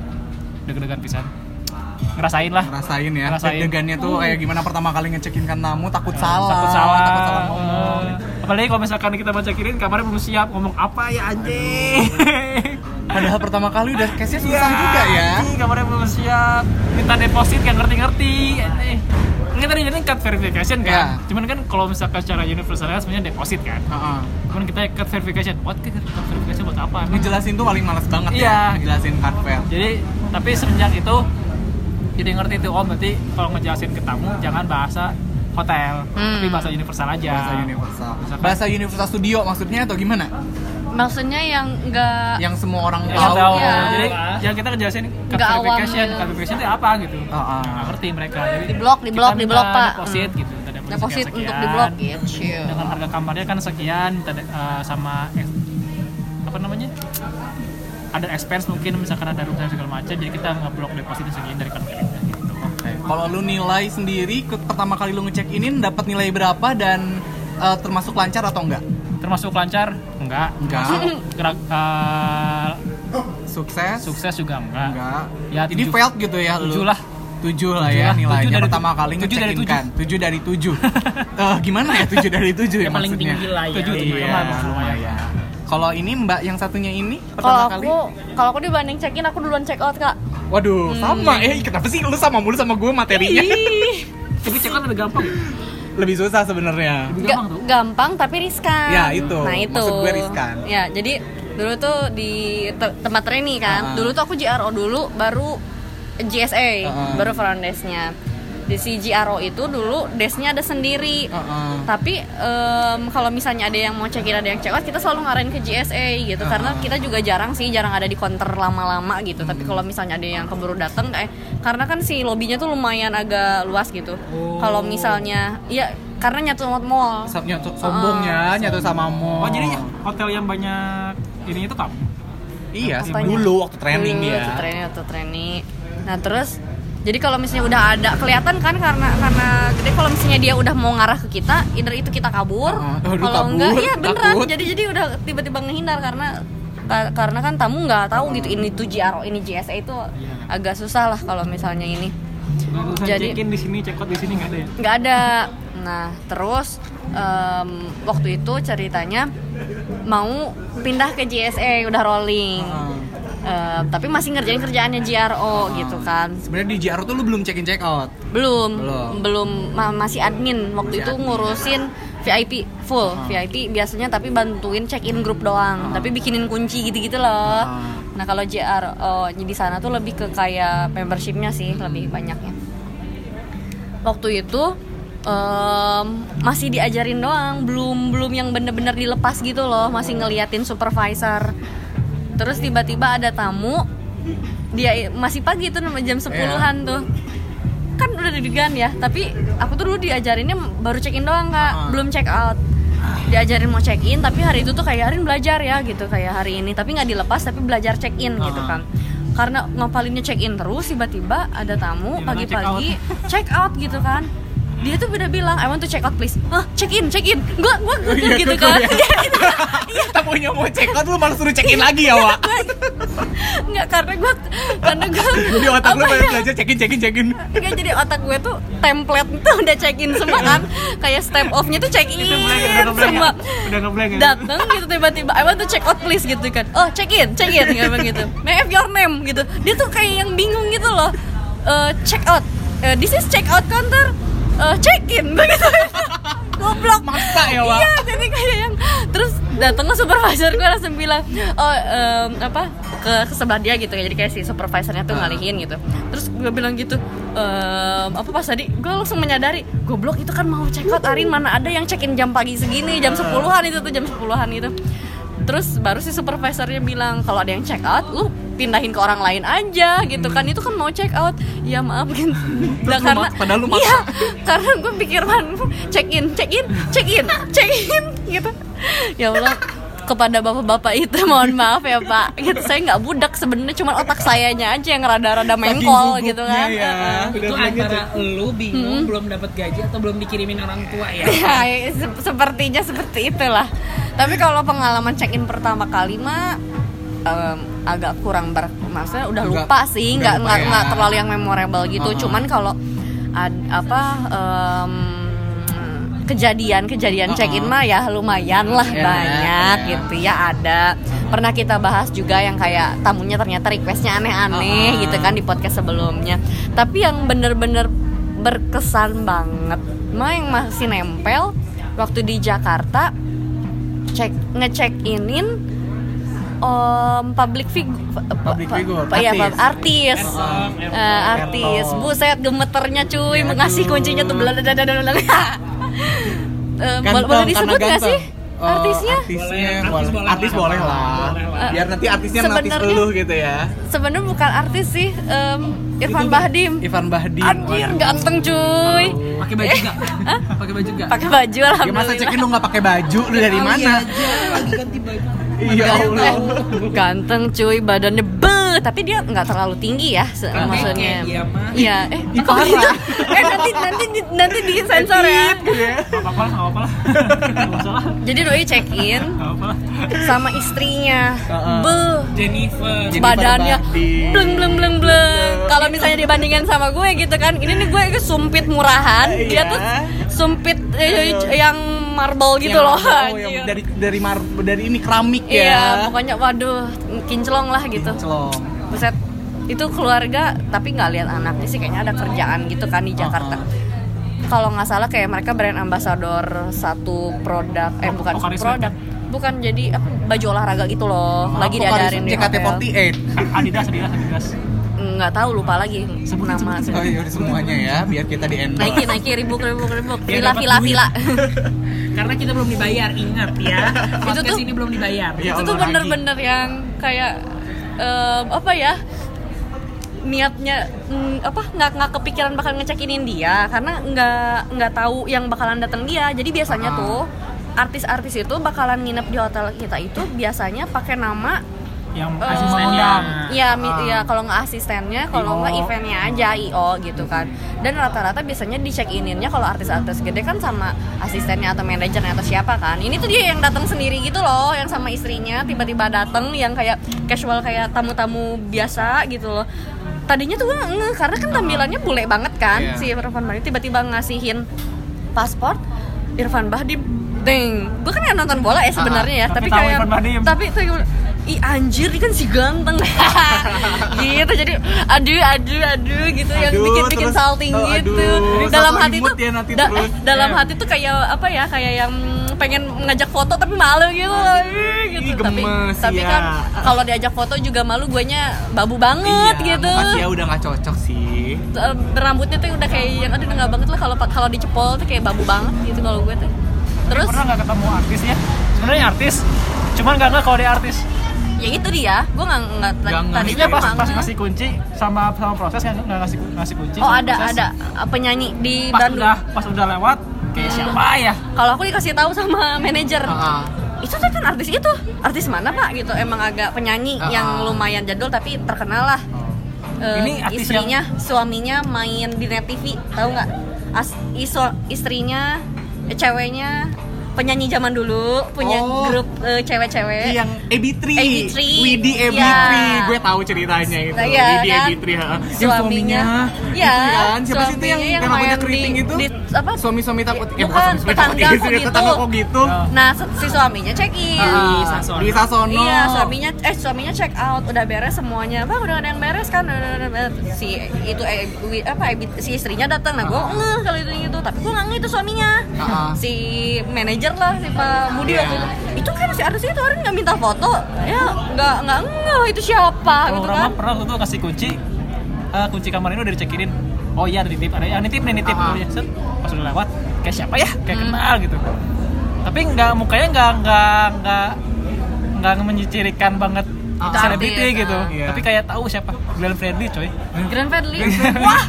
E: deg-degan pisan ngerasain lah
A: Rasain ya,
E: Ngerasain. Nah,
A: deg-degannya tuh kayak gimana pertama kali ngecekin kan tamu takut salah,
E: takut salah,
A: takut salah ngomong.
E: Eh, apalagi kalau misalkan kita baca kirim kamarnya belum siap ngomong apa ya anjing
A: Padahal pertama kali udah case-nya susah juga ya.
E: anjing, kamarnya belum siap ya. minta deposit yang ngerti-ngerti aneh kan tadi jadi cut verification kan
A: Ya.
E: cuman kan kalau misalkan secara universal kan sebenarnya deposit kan
A: Heeh.
E: cuman kita cut verification what cut verification buat apa Emang
A: Ngejelasin tuh paling males banget
E: Iya.
A: ya, ngejelasin card fail.
E: jadi tapi semenjak itu jadi ngerti tuh om berarti kalau ngejelasin ke tamu jangan bahasa hotel
D: Hmm.
E: tapi bahasa universal aja
A: Bahasa universal.
E: Misalkan-
A: Bahasa universal studio maksudnya atau gimana?
D: maksudnya yang enggak
A: Yang semua orang
E: Ya,
A: tahu.
E: tahu.
D: ya.
E: Jadi yang kita ngejelasin cut
D: Nggak awam
E: verification,
D: gitu.
E: cut verification itu apa gitu.
A: Ah, ah.
E: Nggak ngerti mereka. Jadi
D: Di blok, di
E: kita
D: blok, di
E: minta
D: blok, Pak. Hmm.
E: Deposit gitu, minta
D: deposit
E: sekian.
D: untuk di blok gitu
E: Dengan harga kamarnya kan sekian minta de- eh, sama eh, apa namanya? Ada expense mungkin misalkan ada room service segala macam jadi kita ngeblok depositnya segini dari kartu kreditnya gitu.
A: Kalau lu nilai sendiri ke- pertama kali lu ngecek in dapat nilai berapa dan eh, termasuk lancar atau enggak?
E: Termasuk lancar? Enggak.
A: Enggak.
E: Gerak eh,
A: Sukses?
E: sukses juga enggak.
A: Enggak.
E: Ya,
A: Ini
E: tujuh.
A: failed gitu ya lu.
E: Tujuh lah.
A: Tujuh lah
E: Tujuh
A: ya
E: lah.
A: nilainya
E: Tujuh dari
A: pertama
E: tujuh.
A: kali
E: Tujuh dari
A: ngecek in kan. Tujuh dari tujuh. Eh, gimana ya tujuh dari tujuh ya,
C: Yang paling
A: maksudnya?
C: tinggi lah ya.
A: Tujuh
E: Iya,
A: iya,
E: lumayan.
A: lumayan. Kalau ini mbak yang satunya ini
D: kalau
A: pertama kali?
D: aku Hmm. kalau aku dibanding check in aku duluan check out kak
A: Waduh, sama. Eh, kenapa sih lu sama mulu sama gue materinya?
E: Tapi check out lebih gampang. ya?
A: Lebih susah sebenarnya.
E: Lebih
D: Ga-
E: gampang tuh.
D: gampang tapi riskan.
A: Ya, itu.
D: Nah itu.
A: Maksud gue riskan.
D: Ya jadi dulu tuh di te- tempat training kan.
A: Ah.
D: Dulu tuh aku JRO dulu, baru GSA,
A: Ah.
D: baru front desknya. Di si JRO itu dulu desknya ada sendiri.
A: Heeh.
D: Tapi em, kalau misalnya ada yang mau check in ada yang check out, kita selalu ngarahin ke GSA gitu.
A: Ah.
D: Karena kita juga jarang sih, jarang ada di counter lama-lama gitu. Tapi kalau misalnya ada yang keburu datang, kayak karena kan si lobbynya tuh lumayan agak luas gitu. Kalau misalnya, ya karena nyatu sama mall.
A: Sa- nyatu sombong ya, nyatu sama mo.
E: Oh jadi ya, hotel yang banyak ini itu kamu?
A: Iya, sih,
D: Apanya?
A: dulu waktu training
D: Dulu
A: dia.
D: Hmm, Waktu training, waktu training. Nah terus jadi kalau misalnya udah ada kelihatan kan karena karena jadi kalau misalnya dia udah mau ngarah ke kita, either itu kita kabur,
A: Ah, aduh, kabur,
D: kalau enggak iya beneran.
A: takut.
D: Jadi jadi udah tiba-tiba ngehindar karena ka- karena kan tamu nggak tahu gitu ini tuh JRO ini JSA itu agak susah lah kalau misalnya ini Jadi-
E: check in di sini, check out di sini nggak ada ya?
D: nggak ada nah terus em, waktu itu ceritanya mau pindah ke JSA udah rolling
A: Heeh.
D: Eh, tapi masih ngerjain kerjaannya JRO gitu kan
A: Sebenarnya di JR tuh lu belum check in check out.
D: belum
A: Belum.
D: belum ma- masih admin waktu
A: Masih
D: itu
A: admin. ya. Hmm.
D: ngurusin VIP full VIP biasanya tapi bantuin check in grup doang tapi bikinin kunci gitu gitu loh
A: Ah.
D: nah kalau JRO di sana tuh lebih ke kayak membershipnya sih
A: Hmm.
D: lebih banyaknya waktu itu em, masih diajarin doang belum belum yang bener-bener dilepas gitu loh masih ngeliatin supervisor terus tiba-tiba ada tamu dia i- masih pagi tuh jam 10-an
A: Iya.
D: tuh kan udah deg-degan ya tapi aku tuh dulu diajarinnya baru check in doang kak
A: Ah.
D: belum check out diajarin mau check in tapi hari itu tuh kayak hari ini belajar ya gitu kayak hari ini tapi nggak dilepas tapi belajar check in gitu
A: Ah.
D: kan karena ngapalinnya check in terus tiba-tiba ada
A: Iya,
D: tamu
E: Dia bilang
D: pagi-pagi check out gitu kan dia tuh udah bilang I want to check out please Hah, check in check in gua gua
A: Iya,
D: gitu
A: gua-
D: kan Iya.
A: gua- Tamunya mau check out lu malah suruh check in lagi ya, Wak.
D: nggak karena gua karena gua
A: Jadi otak lu
D: apa
A: banyak
D: ya?
A: belajar check in check in check in.
D: Nggak, jadi otak gue tuh template tuh udah check in semua kan kayak step off nya tuh check in
E: blank, udah ngeblank ya?
D: semua
E: Udah ngeblank ya?
D: dateng gitu tiba-tiba I want to check out please gitu kan oh check in check in nggak bilang gitu may I have your name gitu dia tuh kayak yang bingung gitu loh Eh, check out Eh, this is check out counter Eh, check in begitu goblok
A: Maksa ya, Wak.
D: iya jadi kayak yang terus datangnya supervisor gue langsung bilang oh em, apa ke, ke sebelah dia gitu ya jadi kayak si supervisornya tuh
A: Ah.
D: ngalihin gitu terus gue bilang gitu "Em, apa pas tadi gue langsung menyadari goblok
A: Ah.
D: itu kan mau check out Arin mana ada yang check in jam pagi segini jam 10-an itu tuh jam 10-an gitu terus baru si supervisornya bilang kalau ada yang check out lu pindahin ke orang lain aja gitu kan itu kan mau check out ya maaf gitu nah,
A: Hmm. lu
D: karena
A: mak- padahal lu maksa.
D: iya karena gue pikiran check in check in check in check in gitu ya Allah kepada bapak-bapak itu mohon maaf ya pak gitu saya nggak budak sebenarnya cuma otak sayanya aja yang rada-rada
A: Saking
D: mengkol
A: gugupnya
D: gitu kan
A: ya. Udah
C: itu
A: bilang gitu.
C: antara lu bingung belum dapat gaji atau belum dikirimin orang tua ya
D: Ya, se- sepertinya seperti itulah. Tapi kalau pengalaman check in pertama kali mah em, agak kurang ber, maksudnya udah
A: Nggak-
D: lupa sih,
A: udah
D: nggak
A: lupa
D: nggak
A: ya.
D: nggak terlalu yang memorable gitu.
A: Uh-uh.
D: Cuman kalau ad- apa em, kejadian-kejadian check in mah ya lumayan lah
A: Ya,
D: banyak
A: ya.
D: gitu ya ada. Pernah kita bahas juga yang kayak tamunya ternyata requestnya aneh-aneh
A: Uh-uh.
D: gitu kan di podcast sebelumnya. Tapi yang bener-bener berkesan banget mah yang masih nempel waktu di Jakarta cek ngecek inin om public figure
A: Public figure,
D: artis,
A: artis.
D: ya, artis.
A: Oh.
D: Eh, artis
A: Airport.
D: buset gemeternya
A: Ya,
D: cuy ngasih
A: aduh.
D: kuncinya tuh belang
A: Ganteng,
D: Eh, boleh
A: karena
D: disebut gak
A: ganteng.
D: sih
A: Oh,
D: artisnya
A: artisnya
C: Boleh,
A: boleh,
C: artis boleh
A: artis
C: lah.
A: boleh lah.
C: Boleh lah.
A: Biar nanti artisnya melatih
D: Sebenarnya-
A: elu gitu ya.
D: sebenarnya bukan artis sih em, Irfan
A: Itu-
D: Bahdim
A: Irfan Bahdim. Iya.
D: anjir ganteng cuy
C: pakai baju nggak pakai baju nggak
D: pakai baju
A: Ya masa
D: alhamdulillah
A: cekin lu nggak pakai baju lu
D: Oh,
A: dari
D: iya,
A: mana?
C: lagi ganti baju
A: Iya Allah.
D: Eh, ganteng cuy badannya be tapi dia nggak terlalu tinggi ya se-
A: Kan
C: Tapi
D: maksudnya
C: kayak dia mah.
D: iya eh kok gitu eh nanti nanti di- nanti di sensor ya
A: Iya.
E: apa-apa lah, apa-apa lah. Nggak masalah,
D: jadi doi check in
E: nggak apa-apa lah.
D: sama istrinya
A: Heeh.
D: be
E: Jennifer.
A: Jennifer
D: badannya
A: Barbie.
D: bleng bleng bleng bleng
A: Iya.
D: kalau misalnya dibandingkan sama gue gitu kan ini nih gue itu sumpit murahan
A: Iya.
D: dia tuh sumpit eh, yang marble gitu
A: Yang-
D: loh
A: Oh, yang dari dari mar dari ini keramik ya.
D: iya pokoknya waduh kinclong lah gitu
A: Celong.
D: Buset itu keluarga tapi nggak lihat anaknya sih kayaknya ada kerjaan gitu kan di Jakarta. Kalau nggak salah kayak mereka brand ambassador satu produk eh
A: Oh,
D: bukan
E: Pocari Sweat.
D: produk bukan jadi apa, baju olahraga gitu
A: Oh,
D: loh lagi diadarin di hotel.
A: JKT48.
E: Adidas, Adidas, Adidas.
D: nggak tahu
E: Hmm.
D: lupa lagi nama
A: Oh iya udah semuanya ya biar kita di endorse.
D: Nike Nike ribuk ribuk ribuk
E: Dia
D: villa
E: Iya, dapat
D: villa
E: duit.
D: vila
C: karena kita belum dibayar ingat ya
D: Itu
C: podcast
D: tuh-
C: ini belum dibayar
E: Iya,
A: Ya
D: itu
A: Allah,
D: tuh
A: Nike.
D: bener-bener yang kayak em, apa ya niatnya mm, apa nggak nggak kepikiran bakal ngecekinin dia karena nggak nggak tahu yang bakalan datang dia jadi
A: Ah.
D: biasanya tuh artis-artis itu bakalan nginep di hotel kita itu biasinya pakai nama
E: Yang
C: Oh.
D: eh,
E: asistennya.
D: ya mi-
A: Ah.
D: ya kalau nggak asistennya
A: IO.
D: kalau nggak eventnya aja io gitu kan dan rata-rata biasanya di check ininnya kalau artis-artis gede kan sama asistennya atau manajernya atau siapa kan ini tuh dia yang datang sendiri gitu loh yang sama istrinya tiba-tiba datang yang kayak casual kayak tamu-tamu biasa gitu loh tadinya tuh gue nggak ngeh, karena kan tampilannya bule banget kan
A: Iya.
D: si Irfan Bahdim tiba-tiba ngasihin paspor Irfan Bahdim deng gue kan yang nonton bola ya sebenarnya ya tapi,
E: Tapi tahu
D: kayak
E: Irfan Bahdim.
D: tapi itu i anjir ini kan si ganteng gitu jadi aduh aduh aduh gitu yang
A: Aduh,
D: bikin bikin
A: terus,
D: salting
A: oh, aduh,
D: gitu
A: ini
D: dalam
A: satu
D: hati
A: imut
D: tuh
A: ya nanti terus.
D: eh, dalam
E: Iya.
A: Ya.
D: hati tuh kayak apa ya kayak yang pengen ngajak foto tapi malu gitu loh ih, gitu
A: Ih,
D: tapi
A: gemes,
D: tapi
A: ya.
D: kan kalau diajak foto juga malu guanya babu banget
A: Iya,
D: gitu
A: Pasti ya udah nggak cocok sih.
D: Eh, rambutnya tuh udah kayak yang aduh udah nggak banget lah kalau kalau dicepol tuh kayak babu banget gitu kalau gue tuh terus
E: Pernah nggak ketemu artis ya? Sebenarnya artis, cuman nggak nggak kalau dia artis.
D: ya itu dia gue nggak nggak
A: Nggak ngerti.
D: tadinya
E: Dia pas
D: nggak
C: ya?
E: pas
D: ngeh.
E: ngasih kunci sama sama proses kan nggak ngasih ngasih kunci.
D: Oh
E: sama
D: ada
E: proses.
D: ada eh, penyanyi di
E: Pas
D: Bandung.
E: udah pas udah lewat, kayak
C: Hmm.
E: siapa ya?
D: Kalau aku dikasih tahu sama manajer,
A: Heeh.
D: itu tuh kan artis itu, artis mana pak gitu? Emang agak penyanyi
A: Ah. Oh.
D: yang lumayan jadul tapi terkenal lah. Eh,
E: Ini artis
D: istrinya, suaminya main di net TV, tahu nggak? As, iso, istrinya, eh, ceweknya penyanyi zaman dulu punya
A: Oh. Iya.
D: grup eh, cewek-cewek.
A: yang EB3
D: AB3.
A: Widi EB3
D: Ya.
A: gue tahu ceritanya itu
D: Nah, iya,
A: Widi
D: kan?
A: EB3 ha. yang
D: Suaminya.
A: suaminya
D: Ya,
A: itu kan siapa sih itu yang,
D: suaminya yang
A: yang rambutnya
D: main
A: keriting
D: di-
A: itu
D: di- apa?
A: suami-suami takut eh bukan
D: Bukan,
A: suami-suami takut
D: tetangga
A: istri,
D: kok gitu.
A: tetangga kok gitu
D: Nah se- si suaminya check in.
A: Ah,
C: Sasono.
A: Dwi Sasono
D: Iya, suaminya eh suaminya check out udah beres semuanya. Bang udah ada yang beres kan? Udah, udah, udah, udah. Si itu eh, wi- apa eh, si istrinya datang nah gue
A: Uh-huh.
D: ngeh kalau itu gitu, tapi gue nggak ngeh itu suaminya.
A: Ah.
D: Si manajer lah si Pak Budi
A: Iya.
D: waktu itu. Itu kan si artis itu orang nggak minta foto. Ya nggak nggak ngeh itu siapa
E: Kalau
D: gitu
E: Rama
D: kan?
E: pernah waktu itu kasih kunci, eh, kunci kamar ini udah dicekinin. Oh iya ada nitip, ada yang nitip nih nitip.
A: Ah.
E: Udah, set. Pas udah lewat, kayak siapa ya? Kayak kenal gitu. Tapi nggak mukanya nggak nggak nggak nggak menyicirikan banget
C: Ah.
E: selebriti
D: Artis,
E: gitu
D: ah.
A: Iya.
E: tapi kayak tahu siapa Glenn Fredly coy
D: Grand Fredly. Wah.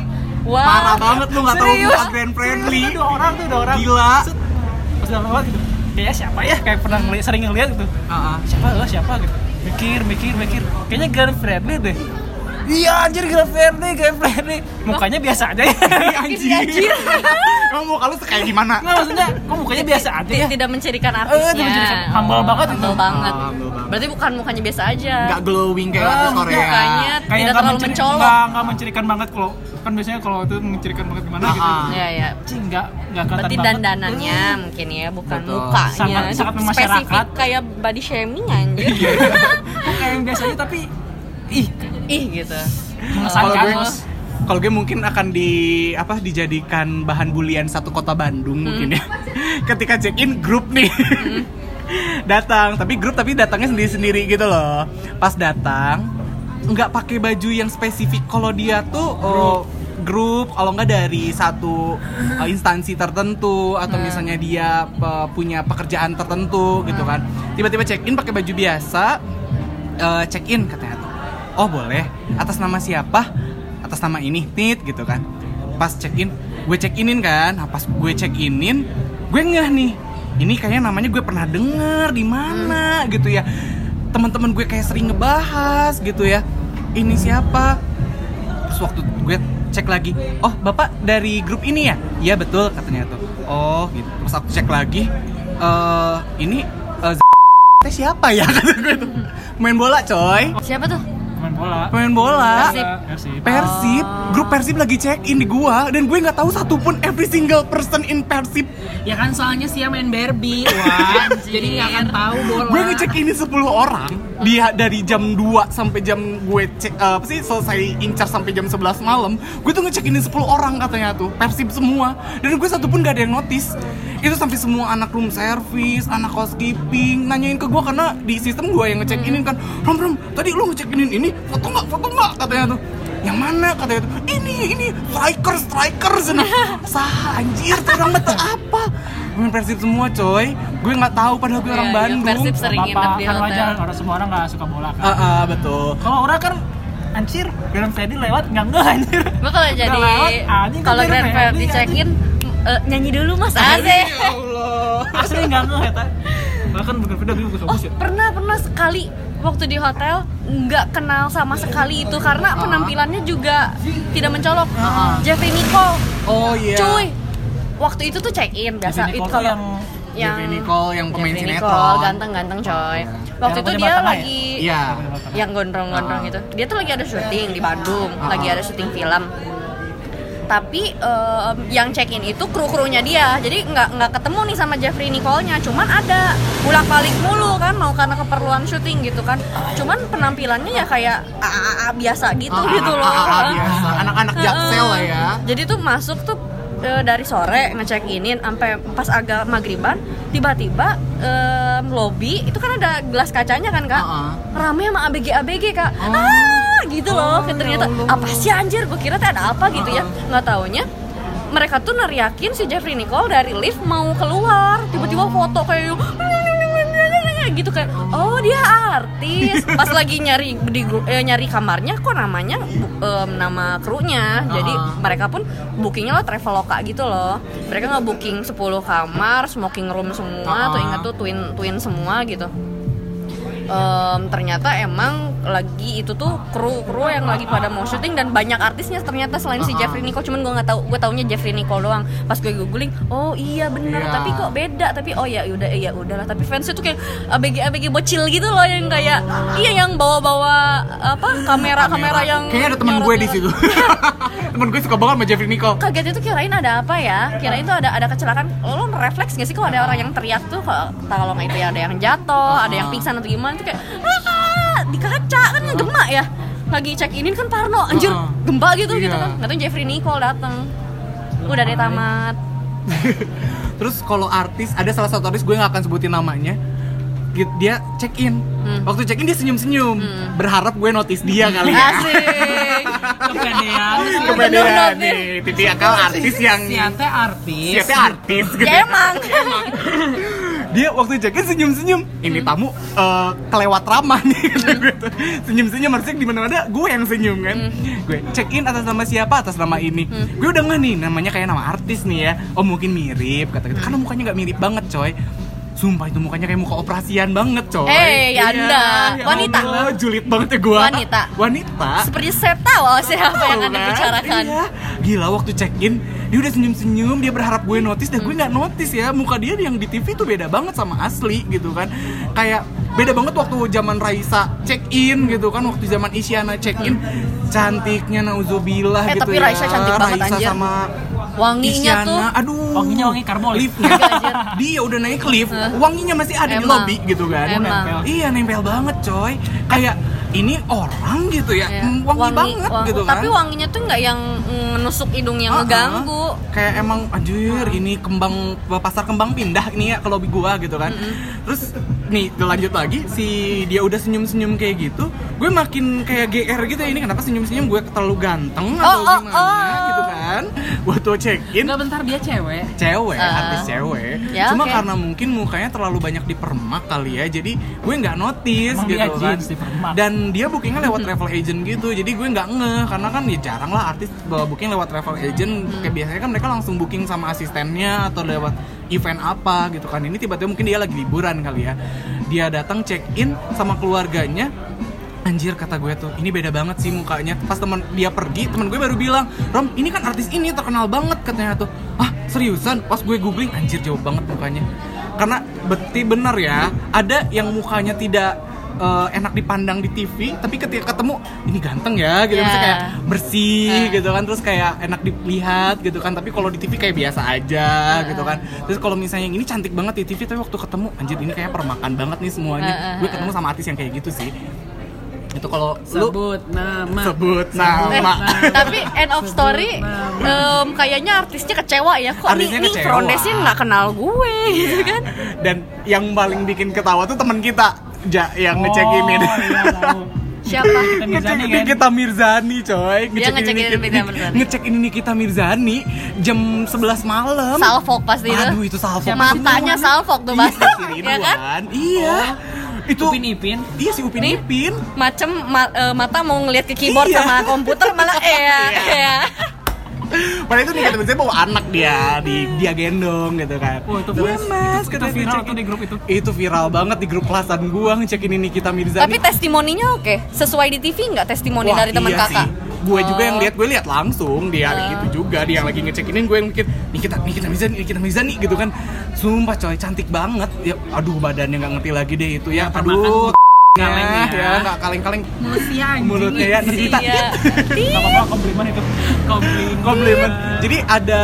D: Wah.
A: Parah banget lu nggak tahu
D: Serius?
A: muka Grand Friendly.
E: Itu dua orang tuh dua orang
A: Gila.
E: pas udah lewat gitu kayaknya siapa ya kayak pernah ngeli- sering ngeliat gitu
A: Ah, ah.
E: siapa lo siapa gitu mikir mikir mikir kayaknya Glenn Fredly deh
A: Iya anjir Grand Friendly, Grand Friendly.
E: mukanya biasa aja ya
D: Iya,
A: Anjir. Emang muka lu kayak gimana?
E: nggak maksudnya kok mukanya biasa aja ya
A: Iya.
D: Ti- Tidak mencirikan
A: Eh,
D: artisnya.
E: tidak mencirikan. Humble banget itu.
D: Humble banget.
A: Ah, humble banget.
D: Berarti bukan mukanya biasa aja.
A: Nggak glowing kayak artis Korea.
D: mukanya tidak
E: nggak
D: terlalu
E: menciri-
D: mencolok.
E: nggak nggak mencirikan banget kalau kan biasanya kalau itu mencirikan banget gimana
A: Ah,
E: gitu
A: ah.
D: Ya ya.
E: cing nggak nggak kelihatan
D: Berarti
E: banget.
D: dandanannya mungkin ya, bukan
A: Betul.
D: mukanya.
E: Hmm. Sangat- sangat
D: Spesifik
E: memasyarakat. Iya.
D: kayak body shaming anjir.
E: kayak yang biasanya tapi ih
D: Ih gitu.
A: Kalau
E: mengesankan
A: gue kalau gue mungkin akan di apa dijadikan bahan bulian satu kota Bandung mungkin ya. Ketika check in grup nih. datang, tapi grup tapi datangnya sendiri-sendiri gitu loh. Pas datang nggak pakai baju yang spesifik kalau dia tuh oh, grup kalau nggak dari satu eh, instansi tertentu atau misalnya dia eh, punya pekerjaan tertentu gitu kan tiba-tiba check in pakai baju biasa eh, check in katanya tuh. oh boleh atas nama siapa atas nama ini tit gitu kan pas check in gue check inin kan nah, pas gue check inin gue ngeh nih ini kayaknya namanya gue pernah denger di mana gitu ya teman-teman gue kayak sering ngebahas gitu ya ini siapa Terus waktu gue cek lagi, oh bapak dari grup ini ya? Iya betul katanya tuh. Oh gitu. Terus aku cek lagi, eh ini eh, Z- teh siapa ya? Kata gue tuh. Main bola coy,
D: Siapa tuh?
E: main bola Iya,
A: main bola.
D: Persib.
E: Persib.
A: Persib, grup Persib lagi check in di gua dan gue nggak tahu satupun every single person in Persib.
C: Ya kan soalnya Sia main Barbie, wah. jadi nggak akan tahu bola.
A: Gue ngecek ini 10 orang dia dari jam 2 sampai jam gue cek eh, apa sih selesai incar sampai jam 11 malam. Gue tuh ngecek ini 10 orang katanya tuh, Persib semua. Dan gue satu pun gak ada yang notice. Itu sampai semua anak room service, anak housekeeping nanyain ke gue karena di sistem gue yang ngecek ini kan, "Rom, Rom, tadi lu ngecek ini ini, foto nggak foto nggak katanya tuh. Yang mana katanya tuh? Ini, ini striker, striker sana. Sah anjir, terang mata apa? Gue Persib semua coy. Gue nggak tahu padahal gue orang
D: Iya, iya,
A: Bandung.
D: Persib sering
E: Apa-apa,
D: nginep di
E: kan wajar
D: hotel.
E: orang semua orang nggak suka bola kan
A: Ah, ah, betul.
E: kalau orang kan anjir Glenn Fredly lewat nggak nggak anjir
D: Gue kalau jadi
E: lewat, Ah, anjing,
D: kalau
E: bener,
D: Grand
E: anjing,
D: Prix
E: ya, anjing.
D: dicekin eh, nyanyi dulu Mas Aze.
A: Ya Allah.
E: asli nggak nggak ya Tan. bahkan bukan beda gue
D: Oh
E: bagus ya
D: pernah pernah sekali waktu di hotel nggak kenal sama sekali itu karena
E: Ah.
D: penampilannya juga tidak mencolok. Jeffrey Nicole,
A: Oh iya.
D: cuy, waktu itu tuh check in biasa
E: Jadi
D: itu
E: Nicole tuh
D: kalau Oh,
E: yang
D: yang
A: Jeffrey Nicole yang pemain
D: Jeffrey
A: sinetron. Oh,
D: Nicole, ganteng-ganteng coy. Waktu
E: Yang
D: itu
E: punya
D: dia
E: Batman ya?
D: lagi
A: Iya.
D: yang gondrong-gondrong
A: Ah.
D: gitu. Dia tuh lagi ada syuting di Bandung,
A: Ah.
D: lagi ada syuting film. Tapi em, yang check in itu kru krunya dia, jadi nggak nggak ketemu nih sama Jeffrey Nicole-nya. Cuman ada bolak balik mulu kan, mau karena keperluan syuting gitu kan. Cuman penampilannya ya kayak "Ah, ah, ah," biasa gitu gitu loh.
A: Ah, ah, biasa. Anak-anak jaksel lah ya.
D: Jadi tuh masuk tuh e, dari sore ngecek inin sampai pas agak magriban tiba-tiba em, lobby itu kan ada gelas kacanya kan kak
A: Heeh. Oh.
D: rame sama abg abg kak ah gitu loh
A: ya
D: ternyata apa sih anjir gue kira teh ada apa gitu ya nggak taunya mereka tuh neriakin si Jeffrey Nicole dari lift mau keluar tiba-tiba foto kayak gitu kan oh dia artis pas lagi nyari di gru- eh, nyari kamarnya kok namanya bu- em, nama krunya jadi mereka pun bookingnya lo traveloka gitu loh mereka nggak booking 10 kamar smoking room semua tuh ingat tuh twin twin semua gitu Em, ternyata emang lagi itu tuh kru kru yang lagi pada mau syuting dan banyak artisnya ternyata selain si Jeffrey Nicole cuman gue nggak tahu gue taunya Jeffrey Nicole doang pas gue googling oh iya bener
A: Iya.
D: tapi kok beda tapi oh ya udah ya udahlah tapi fansnya tuh kayak abg abg bocil gitu loh yang kayak iya yang bawa bawa apa kamera kamera yang
A: Iya. Kayaknya ada teman gue di
D: nyorot-nyorot.
A: situ. teman gue suka banget sama Jeffrey Nicole.
D: kagetnya tuh kirain ada apa ya kirain tuh ada ada kecelakaan lo refleks gak sih kalau ada orang yang teriak tuh kalau kalau nggak itu ya ada yang jatuh ada yang pingsan atau gimana tuh kayak "Ah!" di kaca kan gema ya lagi cek in kan Parno anjir
A: Ah.
D: gempa gitu
A: Iya.
D: gitu kan nggak tahu Jeffrey Nicole datang udah deh tamat
A: Terus kalau artis ada salah satu artis gue nggak akan sebutin namanya. Gitu, Dia check in.
D: Hmm.
A: Waktu check in dia senyum-senyum. Berharap gue notice dia kali ya.
D: asik
C: kepedean.
A: Kebetulan nih, Titi Akal artis yang
C: Sia teh artis.
A: siapa artis gitu.
D: ya emang
A: dia waktu check-in senyum-senyum. Ini
D: Hmm.
A: tamu eh, kelewat ramah nih kata gue tuh. Senyum-senyum harusnya di mana-mana gue yang senyum kan.
D: Hmm.
A: Gue check-in atas nama siapa? Atas nama ini. Gue udah nggak nih namanya kayak nama artis nih ya. Oh mungkin mirip kata
D: Hmm.
A: gitu. Karena mukanya nggak mirip banget coy. Sumpah itu mukanya kayak muka operasian banget coy.
D: Eh,
A: Iya,
D: ya Anda. Wanita.
A: Allah, julid banget ya gue.
D: Wanita.
A: Wanita.
D: Seperti saya tahu siapa yang
A: Tahu
D: anda
A: Ah. kan?
D: bicarakan.
A: Iya. Gila waktu check in dia udah senyum-senyum, dia berharap gue notice
D: Hmm.
A: dan gue nggak notice ya. Muka dia yang di TV tuh beda banget sama asli gitu kan. Kayak beda banget waktu zaman Raisa check in gitu kan, waktu zaman Isyana check in. Cantiknya nauzubillah
D: Eh,
A: gitu
D: tapi
A: ya.
D: Raisa cantik banget,
A: Raisa
D: anjir.
A: sama
D: Wanginya
A: Isyana,
D: tuh.
A: aduh.
E: Wanginya wangi karbol. ya?
A: Liftnya.
D: Iya, anjir.
A: dia udah naik lift, wanginya masih ada di
D: Emang.
A: lobby gitu kan.
D: Emang.
A: Nempel. Iya, nempel banget coy. Kayak ini orang gitu ya,
D: Iya.
A: mm, wangi, banget
D: wangi.
A: gitu kan.
D: Tapi wanginya tuh nggak yang mm, nusuk hidung yang
A: Ah,
D: ngeganggu.
A: ah. Kayak emang anjir ini kembang pasar kembang pindah ini ya ke lobby gua gitu kan. Terus nih lanjut lagi si dia udah senyum-senyum kayak gitu, gue makin kayak GR gitu ya ini kenapa senyum-senyum gue terlalu ganteng atau
D: oh,
A: gimana gitu kan. Waktu check in
C: Enggak bentar dia cewek.
A: cewek,
D: Ah.
A: artis cewek.
D: Ya,
A: Cuma
D: oke.
A: karena mungkin mukanya terlalu banyak dipermak kali ya, jadi gue nggak notice
E: Emang
A: gitu
E: dia
A: kan.
E: jeans dipermak?
A: Dan dia bookingnya lewat travel agent gitu, jadi gue nggak ngeh karena kan ya jarang lah artis bawa booking lewat travel agent. Kayak biasanya kan mereka langsung booking sama asistennya atau lewat event apa gitu kan. Ini tiba-tiba mungkin dia lagi liburan kali ya. Dia datang check in sama keluarganya, Anjir kata gue tuh, ini beda banget sih mukanya. Pas teman dia pergi, teman gue baru bilang, Rom ini kan artis ini terkenal banget katanya tuh. Ah seriusan? Pas gue googling, anjir jauh banget mukanya. Karena beti bener ya, ada yang mukanya tidak eh, enak dipandang di TV, tapi ketika ketemu ini ganteng ya, gitu
D: Ya.
A: Maksudnya kayak bersih
D: Eh.
A: gitu kan, terus kayak enak dilihat gitu kan. Tapi kalau di TV kayak biasa aja gitu kan. Terus kalau misalnya yang ini cantik banget di TV, tapi waktu ketemu, anjir ini kayak permakan banget nih semuanya.
D: Eh, eh, eh,
A: Gue ketemu sama artis yang kayak gitu sih itu kalau lu
C: Sebut nama.
A: sebut nama
D: Eh, tapi end of story
C: Sebut
D: em, kayaknya artisnya kecewa ya kok nih
A: Artisnya
D: nih
A: kecewa.
D: Frondesin nggak kenal gue gitu kan
A: dan yang paling bikin ketawa tuh teman kita ja, yang ngecek
E: Oh,
A: ini
E: iya, tahu.
D: siapa
E: Kita Mirzani
A: ngecek
E: kan?
A: Nikita Mirzani coy ngecek
D: ngecek
A: ini
D: ini Nikita Mirzani.
A: ngecek ini Nikita Mirzani jam 11 malam
D: Salfok pasti itu.
A: aduh itu salfok
D: Siapa sih Matanya namanya? salfok tuh, Mas.
A: Iya, si
D: Iya kan?
A: Ridwan. iya itu
E: Upin Ipin.
A: iya si Upin
D: Nih.
A: Ipin
D: macem ma- eh, mata mau ngelihat ke keyboard
A: Iya.
D: sama komputer malah eh ya, ya.
A: padahal itu Nikita Mirzani bawa anak dia di dia gendong gitu kan
E: Wah, Oh, itu
A: Iya,
E: viral.
A: mas
E: Itu- itu
A: katanya
E: viral
A: ngecek
E: tuh di grup itu.
A: itu viral banget di grup kelasan gua ngecekin ini Nikita Mirzani
D: tapi testimoninya oke sesuai di TV nggak testimoni
A: Wah,
D: dari teman
A: iya
D: kakak
A: sih. Gue juga yang
D: Oh.
A: lihat, gue lihat langsung di hari
D: Oh.
A: itu juga dia yang lagi ngecekinin gue yang mikir Nikita Nikita Mizani Nikita Mizani gitu kan. Sumpah coy cantik banget. Ya aduh badannya nggak ngerti lagi deh itu ya.
E: Ya,
A: aduh
E: termakan
A: kaleng
E: kaleng
A: ya,
E: ya.
A: nggak kaleng-kaleng.
C: Mulutnya anjing.
A: Mulutnya ya Nikita.
D: Iya.
E: Gak apa-apa komplimen itu. Komplimen.
A: Komplimen. Jadi ada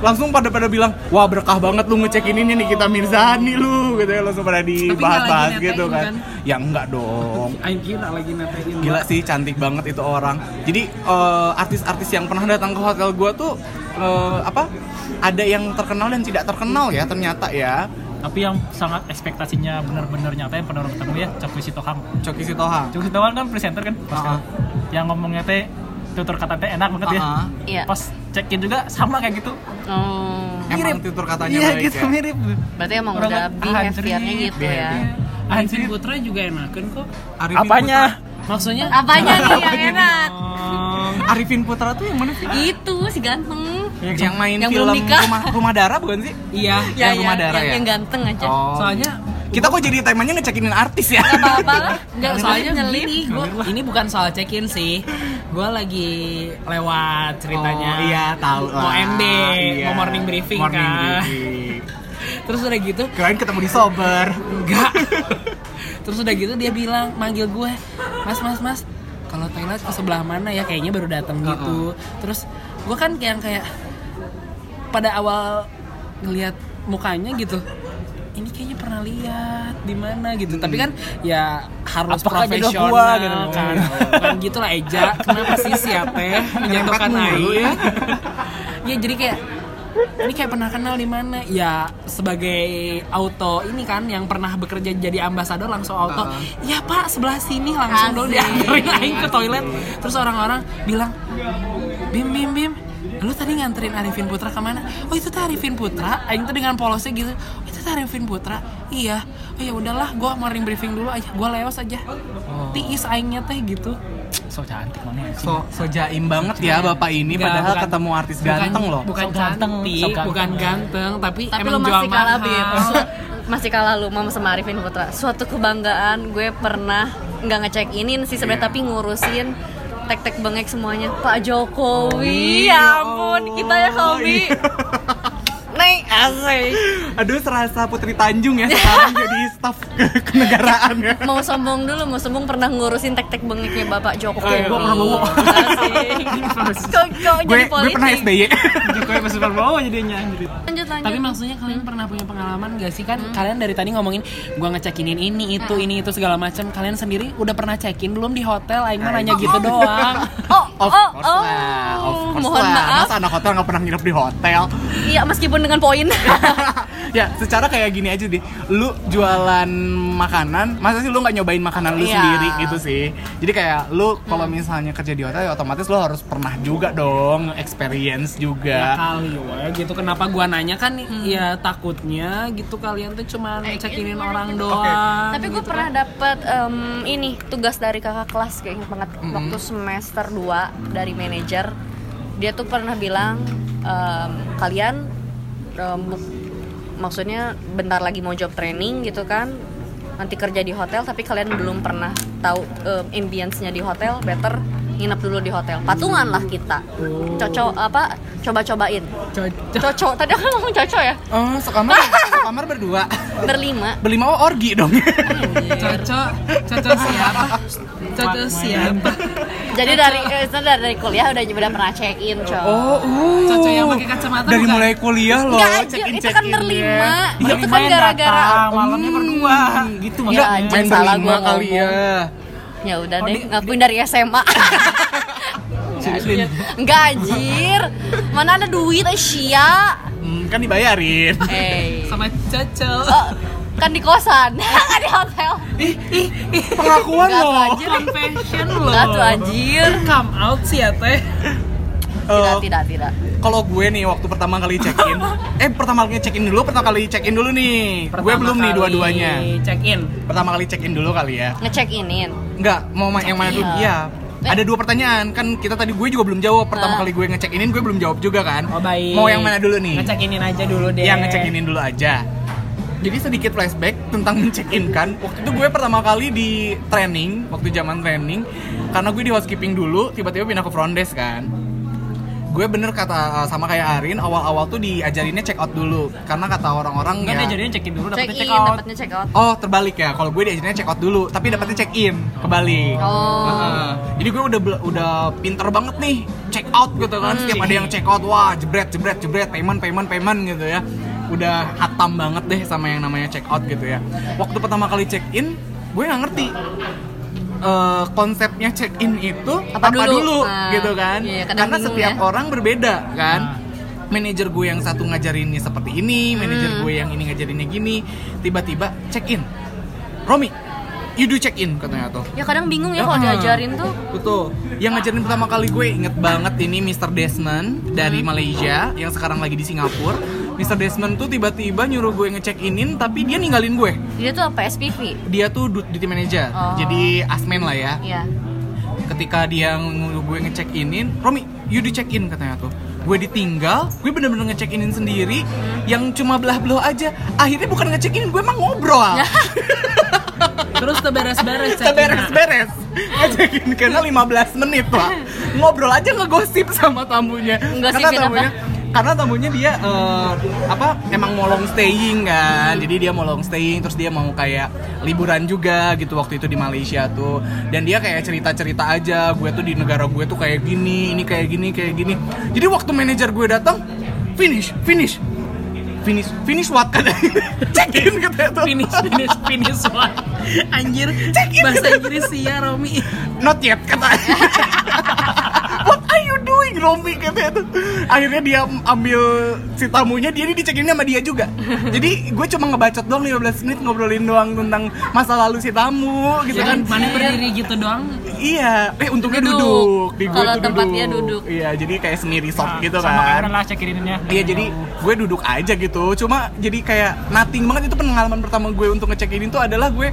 A: langsung pada pada bilang wah berkah banget lu ngecekinin ini Nikita Mirzani lu gitu ya langsung pada dibahas-bahas
C: nggak lagi
A: gitu
C: nyatain,
A: kan. Ya enggak dong.
C: Anjing gila lagi ngatain.
A: Gila sih cantik banget itu orang. Jadi eh, artis-artis yang pernah datang ke hotel gua tuh eh, apa? Ada yang terkenal dan tidak terkenal ya ternyata ya.
E: Tapi yang sangat ekspektasinya benar-benar nyata yang pernah orang ketemu ya Coki Sitohang.
A: Coki Sitohang.
E: Coki Sitohang kan presenter kan.
A: Ah.
E: Yang ngomongnya teh tutur kata teh enak banget ya.
A: Ah.
D: Iya.
E: Pas check in juga sama kayak gitu.
D: Oh,
A: Emang tutur katanya baik ya.
E: mirip.
D: berarti emang
E: Orang
D: udah
E: kan
D: behaviornya
E: anjing.
D: gitu ya
C: Arifin Putra juga enakan kok.
A: Arifin
E: Apanya?
A: Iya.
C: Maksudnya
D: apanya nih yang enak
E: Oh,
A: Putra. Arifin Putra tuh yang mana sih?
D: itu si ganteng
A: Yang main
D: Yang
A: film
D: belum nikah.
A: rumah, rumah Darah bukan sih?
C: iya.
A: Yang rumah darah
D: yang,
A: ya?
D: yang ganteng aja
A: Oh.
C: Soalnya
A: kita kok jadi temanya ngecekinin artis ya?
D: apa-apa lah
C: Enggak, soalnya
D: nyelip.
C: gini, gua, ini bukan soal check-in sih Gue lagi lewat ceritanya
A: Oh, iya tahu lah.
C: Mau MB,
A: Iya.
C: mau morning briefing
A: Morning
C: kan
A: briefing.
C: Terus udah gitu,
A: Kirain ketemu di sober.
C: enggak Terus udah gitu dia bilang, manggil gue Mas, mas, mas, kalau toilet ke sebelah mana ya? Kayaknya baru datang gitu Terus gue kan kayak kayak Pada awal ngelihat mukanya gitu ini kayaknya pernah lihat di mana gitu tapi kan ya harus
A: Apakah jodoh
C: profesional
A: gua gitu?
C: kan kan gitu lah Eja kenapa sih siapa menjatuhkan
A: Nyerempet mulu
C: air
A: ya.
C: ya jadi kayak ini kayak pernah kenal di mana ya sebagai auto ini kan yang pernah bekerja jadi ambasador langsung auto ya pak sebelah sini langsung dong
D: Asik.
C: dianterin aing ke toilet
A: Iya,
C: terus orang-orang bilang bim bim bim lu tadi nganterin Arifin Putra kemana? Oh itu tuh Arifin Putra, Aing tuh dengan polosnya gitu. Oh, itu kita Arifin Putra iya oh, ya udahlah gue morning briefing dulu aja gue lewas aja
A: Oh.
C: tiis aingnya teh gitu
E: so cantik mana ya
A: So, so jaim banget ya
D: Iya.
A: bapak ini
C: Nggak,
A: padahal
C: bukan-
A: ketemu artis
C: bukan-
A: ganteng loh.
C: bukan
E: So
C: ganteng,
E: ganteng, so ganteng.
C: bukan ganteng tapi,
D: Tapi
C: emang
D: lu masih
C: jual
D: kalah,
C: mahal.
D: Bib. Su- masih kalah lu Mama sama Arifin Putra. Suatu kebanggaan gue pernah nggak ngecek inin sih
A: Iya.
D: sebenarnya tapi ngurusin tek-tek bengek semuanya. Pak
A: Oh,
D: Jokowi,
A: iya.
D: ya ampun, kita ya hobi. Nih, asik.
A: Aduh serasa Putri Tanjung ya sekarang jadi staf ke- kenegaraan ya.
D: Mau sombong dulu, mau sombong pernah ngurusin tek-tek bengeknya Bapak Jokowi.
A: Eh, gua Prabowo.
D: Asik. Kok kok
A: Gue
D: jadi
A: gue
D: politik?
A: pernah SBY.
E: Jokowi pas Prabowo jadinya anjir.
D: Lanjut lanjut.
C: Tapi maksudnya kalian pernah punya pengalaman gak sih kan kalian dari tadi ngomongin gua ngecekinin ini itu ini itu segala macam kalian sendiri udah pernah cekin belum di hotel aing mah nanya gitu doang.
D: Oh,
A: Of
D: oh,
A: course
D: oh.
A: lah, of course
D: Mohon
A: lah.
D: maaf.
A: Masa anak hotel nggak pernah nginep di hotel?
D: Iya, meskipun dengan poin.
A: ya, secara kayak gini aja deh. Lu jualan makanan, masa sih lu nggak nyobain makanan lu
C: Iya.
A: sendiri gitu sih. Jadi kayak lu kalau
D: Hmm.
A: misalnya kerja di hotel ya otomatis lu harus pernah juga dong experience
C: Ya
D: Iya,
A: juga.
C: kali we, gitu kenapa gua nanya kan ya takutnya gitu kalian tuh cuma ngecekinin orang doang.
D: Tapi gue pernah dapet em, ini tugas dari kakak kelas kayak inget banget waktu semester 2 dari manajer. Dia tuh pernah bilang em, kalian em, bu- maksudnya bentar lagi mau job training gitu kan. Nanti kerja di hotel tapi kalian belum pernah tahu em, ambience-nya di hotel, better nginep dulu di hotel. Patungan lah kita.
A: Oh.
D: Cocok apa coba-cobain.
C: Cocok.
D: Cocok. Tadi aku ngomong cocok ya?
A: Oh, sekamar sekamar berdua.
D: Berlima.
A: Berlima oh, iya. orgi dong.
C: Cocok, cocok siapa? Cocok siapa?
D: Jadi dari eh, sebenarnya dari kuliah udah udah pernah check in, coy.
A: Oh, uh.
C: Cocok yang pakai kacamata
A: Dari
C: bukan?
A: mulai kuliah loh,
D: Enggak anjir,
A: check-in
D: itu kan
A: check-in-nya.
D: berlima.
A: Iya,
D: itu kan
E: yang
D: gara-gara
E: datang, malamnya berdua gitu
D: Ya,
E: maksudnya.
D: anjir,
A: Hmm, main
D: salah
A: berlima
D: gua
A: kali
D: ngomong.
A: ya.
D: Ya udah deh, ngakuin dari SMA.
A: Seriusin.
D: Enggak anjir. Mana ada duit eh, Asia?
A: Hmm, kan dibayarin.
D: Eh.
C: Sama cocok.
D: Oh, kan di kosan, kan di hotel.
A: Pengakuan
D: Enggak tuh
A: loh.
D: anjir.
C: Confession loh.
D: Enggak tuh anjir.
C: Come out sih ya teh.
A: Eh,
D: Tidak, tidak, tidak.
A: kalau gue nih waktu pertama kali check in eh pertama kali check in dulu pertama kali check in dulu nih gue belum nih dua-duanya
C: Check in.
A: pertama kali check in dulu kali ya
D: Ngecek inin.
A: nggak mau ma- yang mana dulu
D: Iya.
A: iya ada dua pertanyaan kan kita tadi gue juga belum jawab pertama
D: Ah.
A: kali gue ngecek inin gue belum jawab juga kan
C: Oh baik.
A: mau yang mana dulu nih
C: Ngecekinin aja dulu deh.
A: yang ngecek inin Iya, dulu aja jadi sedikit flashback tentang ngecek in kan waktu itu gue pertama kali di training waktu zaman training karena gue di housekeeping dulu tiba-tiba pindah ke front desk kan gue bener kata eh, sama kayak Arin awal-awal tuh diajarinnya check out dulu karena kata orang-orang
E: Enggak dia
A: ya
E: jadinya check in dulu
D: Check
E: dapetnya
D: in,
E: check out.
D: dapatnya check out.
A: Oh terbalik ya, kalau gue diajarinnya check out dulu, tapi dapetnya check in kebalik.
D: Oh.
A: Heeh. jadi gue udah bel- udah pinter banget nih check out gitu kan,
D: Hmm.
A: setiap ada yang check out wah jebret jebret jebret payment payment payment gitu ya. Udah hatam banget deh sama yang namanya check out gitu ya. Waktu pertama kali check in, gue nggak ngerti eh, konsepnya check in itu apa, dulu,
D: Apa dulu? Ah,
A: gitu kan?
D: iya, kadang
A: Karena
D: bingung
A: setiap
D: ya. Ah.
A: orang berbeda kan manajer gue yang satu ngajarinnya seperti ini manajer
D: Hmm.
A: gue yang ini ngajarinnya gini tiba-tiba check in Romi you do check in katanya tuh
D: Ya kadang bingung ya kalau
A: Heeh.
D: diajarin tuh.
A: betul yang ngajarin pertama kali gue inget banget ini Mr. Desmond dari Malaysia yang sekarang lagi di Singapura Mr. Desmond tuh tiba-tiba nyuruh gue ngecek inin tapi dia ninggalin gue
D: Dia tuh apa SPV?
A: dia tuh du- duty manager
D: Oh.
A: jadi asmen lah ya
D: Iya.
A: ketika dia nguruh gue ngecek inin Romi you di check in katanya tuh gue ditinggal gue bener-bener ngecek inin sendiri yang cuma belah belah aja akhirnya bukan ngecek in gue emang ngobrol
C: Terus terberes-beres check
A: kita beres-beres ngecek in karena 15 menit lah ngobrol aja ngegosip sama tamunya
D: Ngegosipin
A: karena
D: apa?
A: tamunya karena tamunya dia eh, apa emang mau long staying kan jadi dia mau long staying terus dia mau kayak liburan juga gitu waktu itu di Malaysia tuh dan dia kayak cerita cerita aja gue tuh di negara gue tuh kayak gini ini kayak gini kayak gini jadi waktu manajer gue datang finish finish finish finish what kan check in katanya tuh
C: Finish, finish, finish one. Anjir,
A: Iya kan?
C: bahasa Inggris sih ya Romi.
A: Not yet katanya. What are you doing? woi gromi katanya tuh akhirnya dia ambil si tamunya dia ini dicekinnya sama dia juga jadi gue cuma ngebacot doang 15 menit ngobrolin doang tentang masa lalu si tamu
D: Iya,
A: gitu
C: Jangan
A: kan
C: mana berdiri gitu doang
A: Iya, eh untungnya
D: Duduk.
A: duduk. Di gua
D: Kalau
A: tuh
D: tempatnya duduk. Nah,
A: Iya, jadi kayak sendiri soft gitu
E: Nah, sama kayak
A: kan.
E: orang lah check in-nya.
A: Iya, jadi gue duduk aja gitu. Cuma jadi kayak nothing banget itu pengalaman pertama gue untuk ngecek ini tuh adalah gue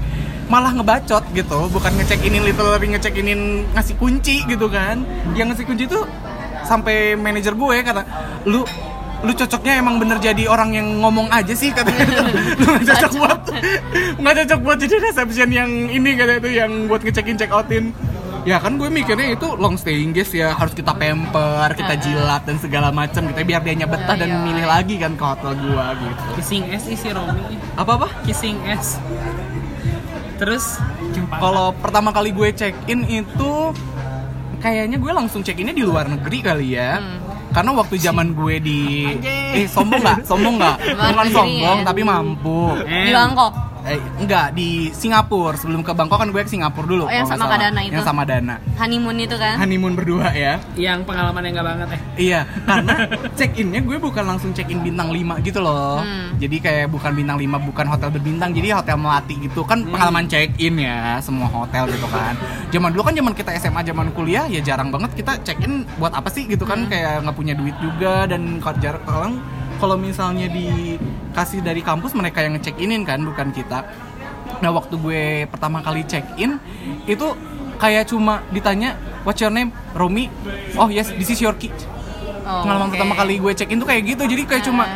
A: malah ngebacot gitu, bukan ngecek ini literally ngecek ini ngasih kunci gitu kan. Yang ngasih kunci tuh sampai manajer gue kata, "Lu lu cocoknya emang bener jadi orang yang ngomong aja sih katanya gitu. lu nggak cocok buat nggak cocok buat jadi reception yang ini katanya itu yang buat ngecekin check outin Ya kan gue mikirnya itu long staying guest ya harus kita pamper, kita jilat dan segala macam gitu biar dia nyebetah
D: Iya,
A: dan milih lagi kan ke hotel gua gitu.
C: kissing ass isi Romi
A: Apa apa?
C: kissing ass terus
A: Kalau pertama kali gue check in itu kayaknya gue langsung check innya di luar negeri kali ya.
D: Hmm.
A: Karena waktu zaman gue di eh sombong nggak? Sombong nggak?
D: Luar
A: Bukan
D: negeri
A: sombong
D: ya.
A: tapi mampu.
D: di Bangkok
A: Eh, enggak di Singapura sebelum ke Bangkok kan gue ke Singapura dulu.
D: Oh, yang
A: kalau nggak
D: sama
A: salah.
D: Kadana itu?
A: Yang sama Dana.
D: honeymoon itu kan
A: Honeymoon berdua ya.
C: yang pengalaman yang gak banget eh
A: Iya, karena check innya gue bukan langsung check in bintang 5 gitu loh.
D: Hmm.
A: Jadi kayak bukan bintang 5, bukan hotel berbintang, jadi hotel melati gitu. Kan pengalaman check in ya semua hotel gitu kan. Zaman dulu kan zaman kita SMA, zaman kuliah ya jarang banget kita check in buat apa sih gitu kan kayak nggak punya duit juga dan kalau jar- orang kalau misalnya dikasih dari kampus mereka yang ngecek inin kan bukan kita. Nah, waktu gue pertama kali check in itu kayak cuma ditanya what's your name? Romi. Oh, yes, this is your key
D: oh,
A: pengalaman
D: oke. Ah.
A: pertama kali gue check in tuh kayak gitu jadi kayak cuma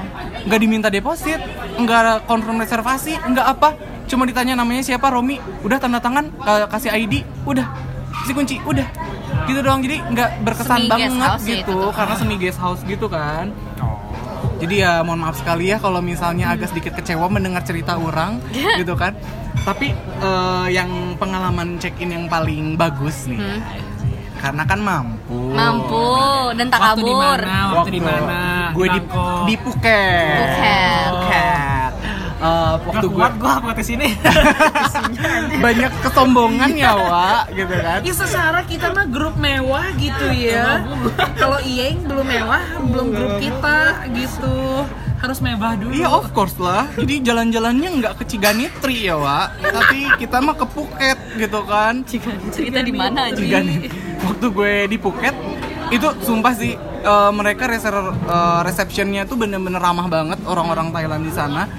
A: nggak diminta deposit nggak confirm reservasi nggak apa cuma ditanya namanya siapa Romi udah tanda tangan ka- kasih ID udah kasih kunci udah gitu doang jadi nggak berkesan
D: Semi guest
A: banget
D: house ya
A: gitu
D: itu tuh.
A: karena semi guest house gitu kan jadi ya mohon maaf sekali ya kalau misalnya agak sedikit kecewa mendengar cerita orang gitu kan tapi eh, yang pengalaman check in yang paling bagus nih
D: Hmm.
A: karena kan mampu
D: mampu dan tak
C: waktu di
D: kabur
C: mana waktu di mana
A: Gue di
C: Bangkok.
A: di Phuket.
D: Phuket.
A: Phuket. Eh, waktu gue
E: kuat gua buat kesini.
A: banyak kesombongan
C: Iya.
A: ya, Wa, gitu kan.
C: Ya secara kita mah grup mewah gitu ya. Kalau Ieng belum mewah, belum grup kita gitu. Harus mewah dulu.
A: Iya,
D: oh.
A: of course lah. Jadi jalan-jalannya nggak ke Ciganitri ya, Wa. Tapi kita mah ke Phuket gitu kan.
D: cerita di mana aja
A: Ciganitri. Waktu gue di Phuket itu sumpah sih eh, mereka reser eh, receptionnya tuh bener-bener ramah banget orang-orang Thailand di sana.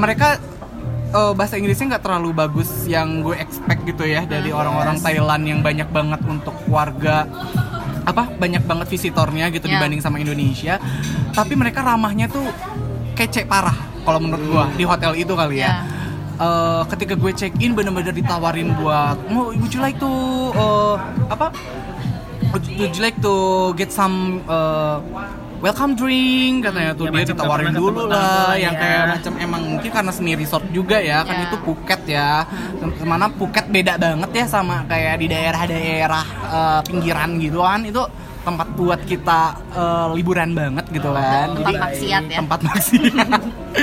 A: Mereka eh, bahasa Inggrisnya nggak terlalu bagus yang gue expect gitu ya dari orang-orang Thailand yang banyak banget untuk warga apa banyak banget visitornya gitu
D: Ya.
A: dibanding sama Indonesia tapi mereka ramahnya tuh kece parah kalau menurut gue di hotel itu kali ya
D: Ya.
A: Eh, ketika gue check in bener-bener ditawarin buat mau would you like to eh, apa would, would you like to get some eh, welcome drink katanya tuh
E: Ya,
A: dia
E: macam
A: ditawarin
E: teman-teman
A: dulu
E: ketemu
A: lah
E: tamu
A: yang
E: ya.
A: kayak macam emang mungkin karena semi resort juga ya kan
D: Ya.
A: itu Phuket ya Tem- mana Phuket beda banget ya sama kayak di daerah-daerah eh, pinggiran gitu kan itu tempat buat kita eh, liburan banget gitu kan
D: Tempat maksiat ya.
A: tempat maksiat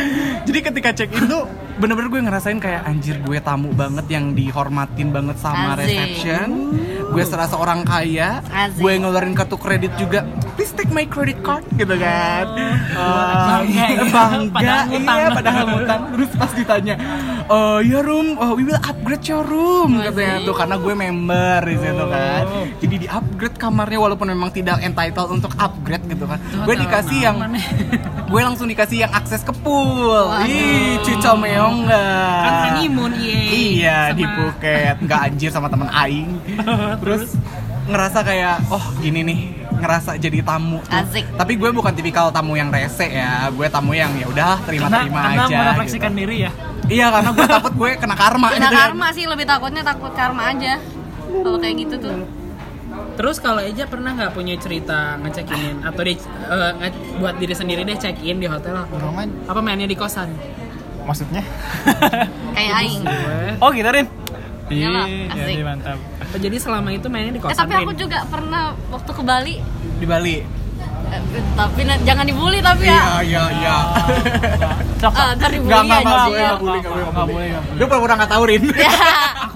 A: jadi ketika check in tuh bener-bener gue ngerasain kayak anjir gue tamu banget yang dihormatin banget sama
D: Asik.
A: reception kan? gue serasa orang kaya
D: Asik.
A: gue ngeluarin kartu kredit juga please take my credit card gitu kan Eh,
E: Bangga.
A: bangga
E: Padahal ngutang.
A: iya, padahal ngutang. terus pas ditanya eh ya room eh, we will upgrade your room katanya tuh karena gue member di situ kan jadi di upgrade kamarnya walaupun memang tidak entitled untuk upgrade gitu kan gue dikasih yang gue langsung dikasih yang akses ke pool ih cucu meong nggak
C: Kan honeymoon, Ieng.
A: iya
C: Sama-
A: di Phuket nggak anjir sama teman aing terus ngerasa kayak oh gini nih ngerasa jadi tamu tuh.
D: Asik.
A: tapi gue bukan tipikal tamu yang rese ya gue tamu yang ya udah terima
E: Karena,
A: terima
E: karena
A: aja
E: merefleksikan
A: gitu.
E: diri ya.
A: iya karena gue takut gue kena karma
D: kena
A: gitu kan.
D: karma sih lebih takutnya takut karma aja kalau kayak gitu tuh
C: Terus kalau Eja pernah nggak punya cerita ngecek in atau di, eh, nge- buat diri sendiri deh check in di hotel apa?
F: Roman
C: apa mainnya di kosan?
F: maksudnya
D: kayak aing
E: Oh, gitu Rin.
D: Iyalah, asik.
E: jadi iya, mantap.
C: Iya, Jadi selama itu mainnya di
D: eh
C: kosan.
D: tapi aku
C: Rin?
D: juga pernah waktu ke Bali
A: di Bali
D: eh, Eh, tapi na- jangan dibully tapi
A: Iya,
D: ya.
A: iya, iya.
E: Sok,
D: Ah,
E: sok.
D: ntar dibully
A: Enggak, enggak, enggak
D: anjing
A: boleh,
D: ya.
A: enggak boleh, enggak boleh, enggak boleh.
E: Nggak boleh.
A: Lu pura-pura enggak tahu, Rin.
D: Ya,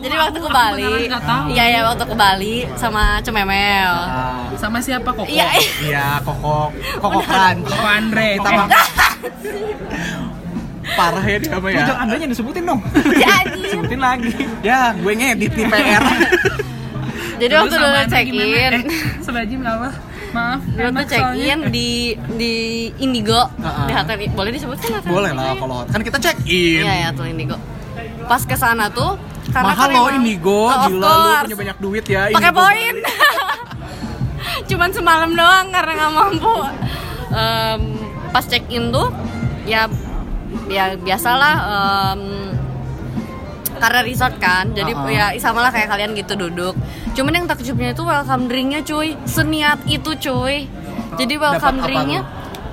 D: jadi waktu ke Bali,
C: beneran nggak tahu.
D: iya ya waktu ke Bali sama Cememel.
A: Ah,
C: Sama siapa kok?
D: Iya,
A: Iya, kokok, kokok kan.
C: Koko Andre.
A: Kita mah. Parah ya dia mah ya.
E: Jangan andanya disebutin dong.
D: jadi
E: Sebutin lagi.
A: Ya, gue ngedit nih PR.
D: jadi waktu
C: sama
D: dulu
C: Andre
D: check in,
C: gimana? Eh, Sebajim Allah. Maaf.
D: dulu tuh
C: enak
D: check
C: soalnya.
D: in di di Indigo,
A: Ah, ah.
D: di hotel boleh disebutkan hotel
A: boleh
D: Indigo
A: lah
D: ya?
A: kalau kan kita check in.
D: Iya ya hotel Indigo. Pas ke sana tuh karena
A: Mahal
D: kan
A: loh
D: emang-
A: Indigo,
D: Oh, of
A: gila lu
D: course.
A: punya banyak duit ya.
D: pakai
A: Indigo.
D: poin cuman semalam doang karena nggak mampu Em, pas check in tuh ya ya biasalah em, karena resort kan jadi
A: Uh-uh.
D: ya sama lah kayak kalian gitu duduk cuman yang takjubnya itu welcome drinknya cuy seniat itu cuy jadi welcome
A: Dapat apa
D: drinknya
A: lu?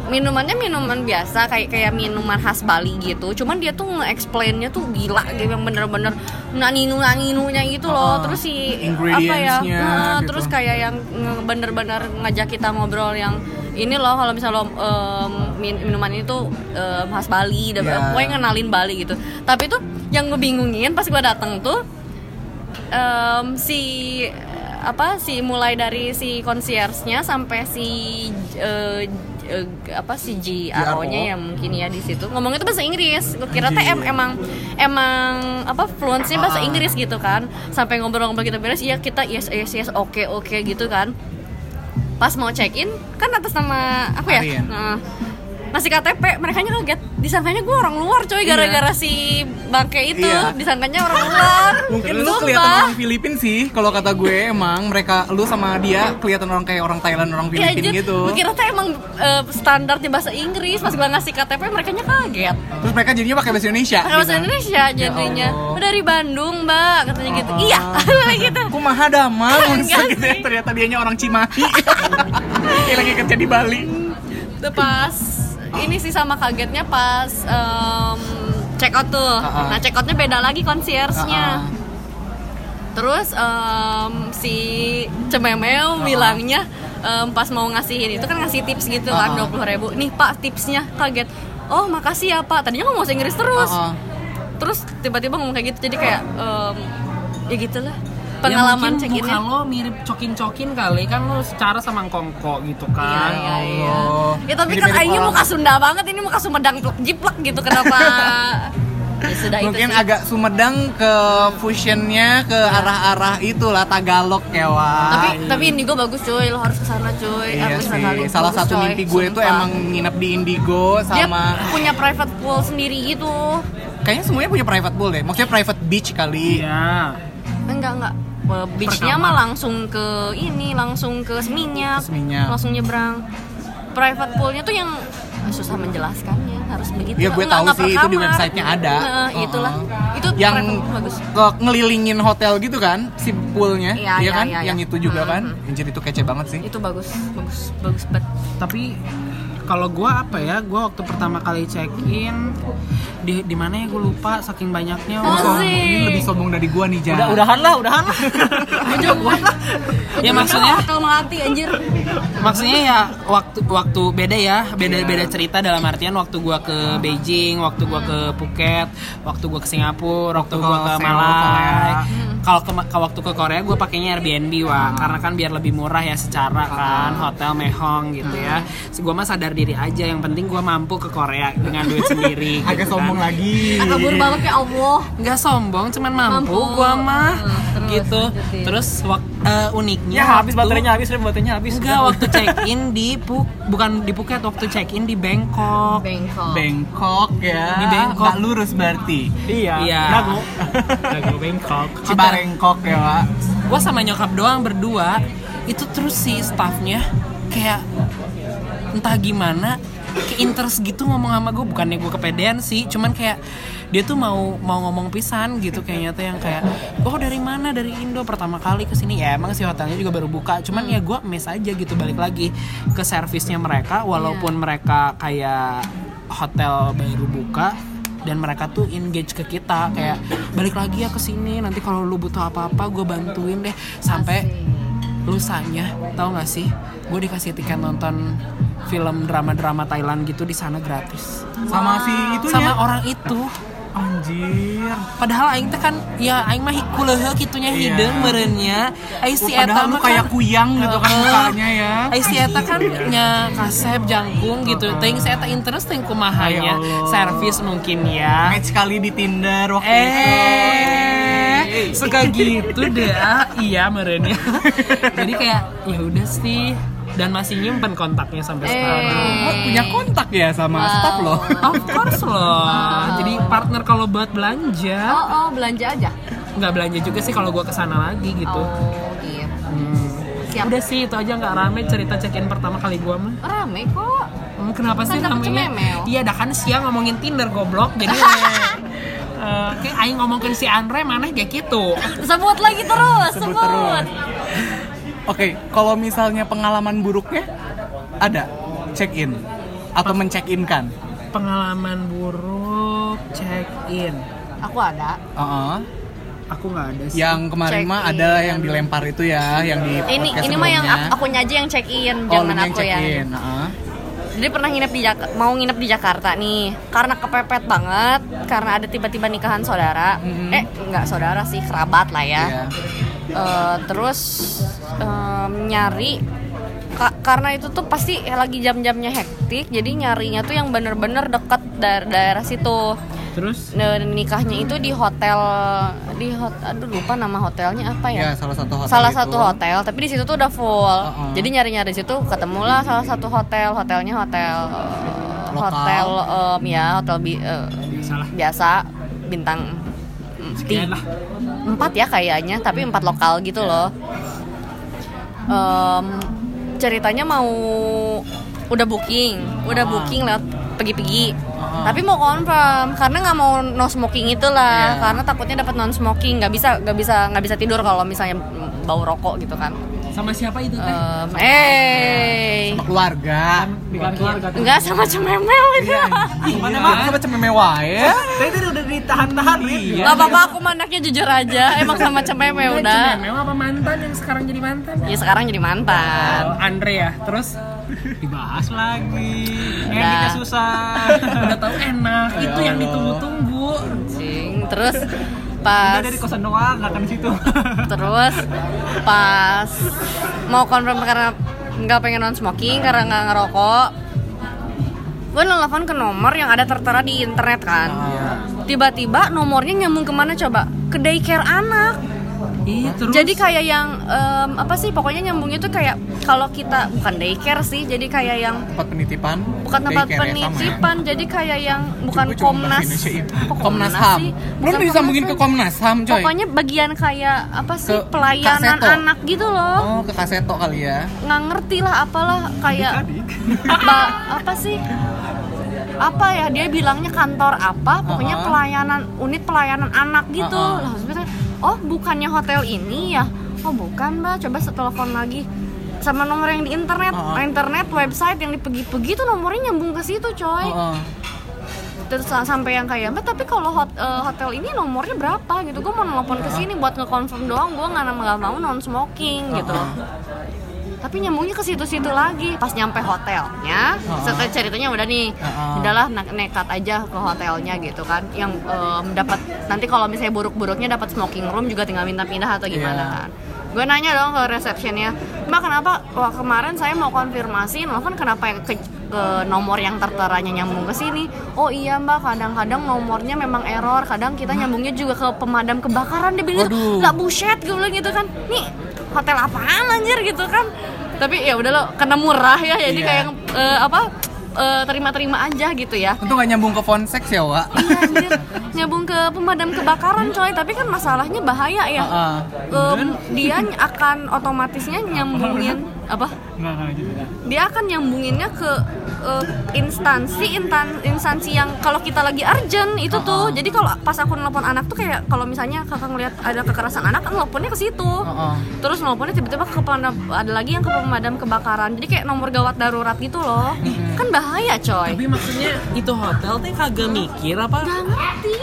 D: minumannya minuman biasa kayak kayak minuman khas Bali gitu cuman dia tuh nge-explainnya tuh gila gitu yang bener-bener naninu naninunya gitu
A: Ah,
D: loh terus si apa ya
A: ingredients-nya
D: eh,
A: gitu.
D: terus kayak yang nge- bener-bener ngajak kita ngobrol yang ini loh kalau misalnya lo em, min- minuman ini tuh em, khas Bali dan
A: Ya.
D: pokoknya ngenalin Bali gitu tapi tuh yang ngebingungin pas gua datang tuh em, si apa si mulai dari si concierge-nya sampai si eh, eh, apa si GRO-nya yang mungkin ya di situ ngomongnya tuh bahasa Inggris. Gue kira teh em- emang emang apa fluency bahasa
A: Ah.
D: Inggris gitu kan. Sampai ngobrol-ngobrol kita beres, iya kita yes yes yes oke oke gitu kan. Pas mau check-in kan atas nama apa ya?
A: Arin.
D: Nah, masih KTP, mereka kaget. Disangkanya gue orang luar coy gara-gara si bangke itu.
A: Iya.
D: Disangkanya orang luar.
A: Mungkin lu
D: Sumpah. Iya,
A: kelihatan orang Filipin sih, kalau kata gue emang mereka lu sama dia kelihatan orang kayak orang Thailand, orang
D: Iya
A: Filipin gitu.
D: Gue kira tuh emang eh, standarnya bahasa Inggris Pas gue ngasih KTP mereka kaget
A: Terus mereka jadinya pakai bahasa Indonesia.
D: Karena bahasa
A: gitu.
D: Indonesia jadinya
A: Allah.
D: "Oh, dari Bandung mbak Katanya gitu
A: Ah.
D: Iya kayak gitu
A: Kumaha damang
D: Enggak
A: gitu ya.
D: sih.
A: Ternyata dianya orang Cimahi. Kayak lagi kerja di Bali.
D: Tuh pas Ini sih sama kagetnya pas em, Check out tuh
A: Ah, ah.
D: Nah check outnya beda
A: Ah,
D: lagi
A: ah.
D: concierge-nya Terus em, si
A: Ah,
D: Cememeo bilangnya em, pas mau ngasihin itu kan ngasih tips gitu kan
A: Ah, ah.
D: dua ribu. Nih pak tipsnya kaget. Oh makasih ya pak. Tadinya ngomong bahasa Inggris terus.
A: Ah, ah.
D: nah, Terus tiba-tiba ngomong kayak gitu jadi kayak em, ya gitulah
C: ya,
D: pengalaman
C: mungkin
D: check innya.
C: muka lo mirip cokin-cokin kali kan lo secara sama kongko gitu
D: Iya, iya,
C: kan
D: iya.
A: Ya Allah.
D: Ya tapi
A: Jadi
D: kan
A: mirip
D: Aingnya
A: orang.
D: muka Sunda banget, ini muka Sumedang plek jiplek gitu kenapa? ya sudah
A: Mungkin
D: itu sih.
A: agak Sumedang ke fusionnya ke arah-arah itulah Tagalog ya Wak.
D: tapi tapi Indigo bagus cuy, lo harus kesana cuy.
A: Iya
D: Aku
A: sih.
D: sekali.
A: Salah
D: Bagus,
A: satu
D: coy.
A: mimpi gue itu
D: Sumpah.
A: emang nginep di Indigo
D: dia
A: sama
D: punya private pool sendiri gitu.
A: kayaknya semuanya punya private pool deh. Maksudnya private beach kali.
E: Iya.
D: Enggak enggak. Well, Beachnya mah langsung ke ini, langsung ke seminyak,
A: Ke Seminyak.
D: langsung nyebrang. Private poolnya tuh yang susah menjelaskannya harus begitu.
A: Iya, gue
D: Enggak-
A: tahu
D: enggak per
A: sih itu di
D: kamar.
A: websitenya ada.
D: Nah,
A: Uh-uh.
D: itulah. Itu
A: yang
D: private pool bagus.
A: ke- ngelilingin hotel gitu kan, si poolnya,
D: Iya, iya,
A: kan?
D: iya, iya.
A: Yang itu juga
D: Hmm,
A: kan, anjir itu kece banget sih.
D: itu bagus bagus bagus banget
C: tapi kalau gua apa ya gua waktu pertama kali check in di di mana ya gue lupa saking banyaknya
A: Wah,
D: Asik.
A: ini lebih sombong dari gue nih, Jan.
E: Udah, udahan lah, udahan lah.
C: ya maksudnya
D: kalau melati anjir
C: maksudnya ya waktu waktu beda ya beda beda cerita dalam artian waktu gua ke Beijing waktu gua ke Phuket waktu gua ke Singapura waktu,
A: Waktu
C: gua
A: ke
C: ke
A: Seoul,
C: Malai Hmm.
A: Korea.
C: kalau ke kalau waktu ke Korea gua pakainya Airbnb wah karena kan biar lebih murah ya secara kan hotel mehong gitu ya so, gua mah sadar diri aja yang penting gua mampu ke Korea dengan duit sendiri gitu
A: Agak
C: kan.
A: sombong lagi.
D: kabur banget ya allah
C: nggak sombong cuman mampu,
D: Mampu.
C: gua mah
D: terus,
C: gitu
D: lanjutin.
C: terus wak- eh, uniknya
E: Ya habis
C: waktu-
E: baterainya habis, udah baterainya habis.
C: Enggak waktu check in di Phu- bukan di Phuket waktu check in di Bangkok.
D: bengkok
A: Bangkok ya.
C: Di Bangkok.
A: Nggak lurus berarti.
E: Iya.
C: Iya.
E: Dago. Dago Bangkok.
A: Cibarengkok ya, Wak.
C: Gua sama nyokap doang berdua. Itu terus si staffnya kayak entah gimana ke interest gitu ngomong sama gue bukannya gue kepedean sih cuman kayak dia tuh mau mau ngomong pisan gitu kayaknya tuh yang kayak oh dari mana dari Indo pertama kali ke sini ya emang sih hotelnya juga baru buka cuman ya gue miss aja gitu balik lagi ke servisnya mereka walaupun mereka kayak hotel baru buka dan mereka tuh engage ke kita kayak balik lagi ya ke sini nanti kalau lu butuh apa-apa gue bantuin deh sampai lusanya tau gak sih gue dikasih tiket nonton film drama-drama Thailand gitu di sana gratis.
A: sama si itu
C: Sama orang itu.
A: anjir
C: Padahal aing teh kan ya aing mah gitu kuleuheuk kitunya
A: Iya.
C: hideung meureunnya. Ai si
A: padahal
C: eta
A: lu
C: mah
A: kayak
C: kan-
A: kuyang gitu kan
C: Heeh.
A: mukanya ya
C: Ai si eta kan nya kasep jangkung gitu. Teuing si eta interesting kumaha
A: Ya
C: nya.
A: Allah.
C: Service mungkin ya.
A: match kali di Tinder waktu
C: Eh, suka gitu deh. ah. Iya meureunnya. Jadi kayak ya udah sih dan masih nyimpen
D: Eh.
C: kontaknya sampai sekarang.
A: itu Wah, punya kontak ya sama staff loh
C: Of course loh. Jadi partner kalau buat belanja,
D: Oh, oh, belanja aja.
C: nggak belanja juga sih kalau gua kesana lagi gitu.
D: Oh, Iya. gitu. Siap.
C: Udah sih itu aja nggak rame cerita check-in pertama kali gua mah.
D: Rame kok.
C: Hmm, Kenapa sih
D: Kan dapet
C: namanya?
D: cememel.
C: Iya, dah kan siang ngomongin Tinder goblok. Jadi eh, eh, kayak aing ngomongin si Andre mana kayak gitu.
D: Sebut lagi terus,
A: Sebut
D: sebut.
A: terus. Oke, kalau misalnya pengalaman buruknya ada check in atau mencheck in kan?
C: Pengalaman buruk check-in.
D: Aku ada.
A: Heeh.
C: Aku nggak ada sih.
A: Yang kemarin
D: Check
A: mah
D: in.
A: ada yang dilempar itu ya, yang di
D: Ini
A: podcast
D: ini mah yang
A: sebelumnya.
D: aku, akunya aja yang check in,
A: Oh, lu yang
D: jangan
A: uh-uh.
D: aku ya.
A: check
D: yang.
A: in. heeh.
D: Jadi pernah nginep di Jak- mau nginep di Jakarta nih karena kepepet banget karena ada tiba-tiba nikahan saudara.
A: Mhm.
D: Eh, nggak saudara sih, kerabat lah ya.
A: Iya.
D: Eh, terus em, nyari ka- karena itu tuh pasti lagi jam-jamnya hektik, jadi nyarinya tuh yang bener-bener dekat da- daerah situ.
C: Terus
D: Nah, nikahnya itu di hotel di hot, aduh lupa nama hotelnya apa
A: Ya,
D: ya?
A: salah satu hotel.
D: salah
A: itu.
D: satu hotel tapi di situ tuh udah full
A: Uh-uh.
D: jadi nyari nyari situ ketemulah salah satu hotel hotelnya hotel eh,
A: Lokal.
D: hotel em, ya hotel bi- eh,
C: salah.
D: biasa bintang mm,
C: Sekian lah.
D: empat ya kayaknya tapi empat lokal gitu loh Em, ceritanya mau udah booking udah booking lewat pergi-pergi
A: Ah.
D: tapi mau confirm karena nggak mau no smoking itulah
A: Iya.
D: karena takutnya dapat non smoking nggak bisa nggak bisa nggak bisa tidur kalau misalnya mm, bau rokok gitu kan
C: Sama siapa itu teh?
D: Em, eh
A: Iya. Sama keluarga.
C: Bukan keluarga.
D: nggak sama cememel itu
A: Iya. Mana mah sama mewah ya?
E: Tadi udah ditahan-tahan
A: Iya.
D: nggak apa-apa aku mah anaknya jujur aja emang sama cememel Ya udah
C: Memang apa mantan yang sekarang jadi mantan?
D: ya sekarang jadi mantan
C: Oh, Andre ya. Terus dibahas lagi.
D: Udah.
E: Enggak susah.
C: Udah tahu enak. Itu yang ditunggu-tunggu.
D: Cing. terus pas
E: Udah dari kosan doang, nggak akan di situ.
D: terus pas mau konfirm karena nggak pengen non smoking karena nggak ngerokok gue nelfon ke nomor yang ada tertera di internet
A: Oh,
D: kan
A: iya.
D: tiba-tiba nomornya nyambung kemana coba ke daycare anak
C: Ih, terus
D: jadi kayak yang em, apa sih pokoknya nyambungnya tuh kayak kalau kita bukan daycare sih jadi kayak yang
A: Tempat penitipan.
D: bukan tempat
A: daycare ya, sama ya.
D: penitipan jadi kayak yang bukan
A: Gua cuma bahasa
D: komnas
A: Indonesia iya. itu.
D: Kok
A: Komnas HAM.
D: sih?
A: Belum
D: Bukan
A: disambungin ke
D: Komnas kan?
A: Komnas
D: HAM.
A: HAM, coy.
D: pokoknya bagian kayak apa sih
A: Ke
D: pelayanan
A: Kaseto.
D: anak gitu loh
A: Oh, ke kaseto kali ya.
D: nggak ngerti lah apalah kayak apa apa sih apa ya dia bilangnya kantor apa pokoknya
A: Uh-uh.
D: pelayanan unit pelayanan anak gitu
A: Uh-uh.
D: Lah, sebenarnya, oh bukannya hotel ini ya oh bukan mbak coba setelepon lagi sama nomor yang di internet
A: Uh-uh.
D: internet website yang dipegi-pegi tuh nomornya nyambung ke situ coy
A: Heeh.
D: terus sa- sampai yang kayak mbak tapi kalau hot- eh, hotel ini nomornya berapa gitu gue mau nelfon ke sini buat ngeconfirm doang gue nggak nggak mau non smoking gitu tapi nyambungnya ke situ-situ lagi pas nyampe hotelnya
A: Ah.
D: setelah ceritanya udah nih
A: Ah.
D: udahlah ne- nekat aja ke hotelnya gitu kan yang em, dapat nanti kalau misalnya buruk-buruknya dapat smoking room juga tinggal minta pindah atau gimana
A: Iya.
D: kan gue nanya dong ke resepsionnya mbak kenapa wah kemarin saya mau konfirmasi nelfon kenapa yang ke, ke nomor yang terteranya nyambung ke sini oh iya mbak kadang-kadang nomornya memang error kadang kita nyambungnya juga ke pemadam kebakaran dia bilang
A: Waduh.
D: gitu, lah buset gue bilang gitu kan nih hotel apaan anjir gitu kan tapi ya udah lo karena murah ya jadi
A: Iya.
D: kayak eh, apa eh, terima-terima aja gitu ya
A: Untung gak nyambung ke Fonsex ya, Wak.
D: Iya anjir, nyambung ke pemadam kebakaran coy, tapi kan masalahnya bahaya ya.
A: Heeh.
D: Em, dia ny- akan otomatisnya nyambungin apa?
E: Nggak nggak gitu.
D: Dia akan nyambunginnya ke eh, instansi intan- instansi yang kalau kita lagi urgent itu tuh.
A: Uh-uh.
D: Jadi kalau pas aku nelpon anak tuh kayak kalau misalnya kakak ngelihat ada kekerasan anak, kan nelponnya ke situ.
A: Heeh.
D: Terus nelponnya tiba-tiba ke pemadam ada lagi yang ke pemadam kebakaran. Jadi kayak nomor gawat darurat gitu loh.
A: Mm-hmm.
D: Kan bahaya coy.
C: tapi maksudnya itu hotel teh kagak mikir apa? Eh,
D: Gak ngerti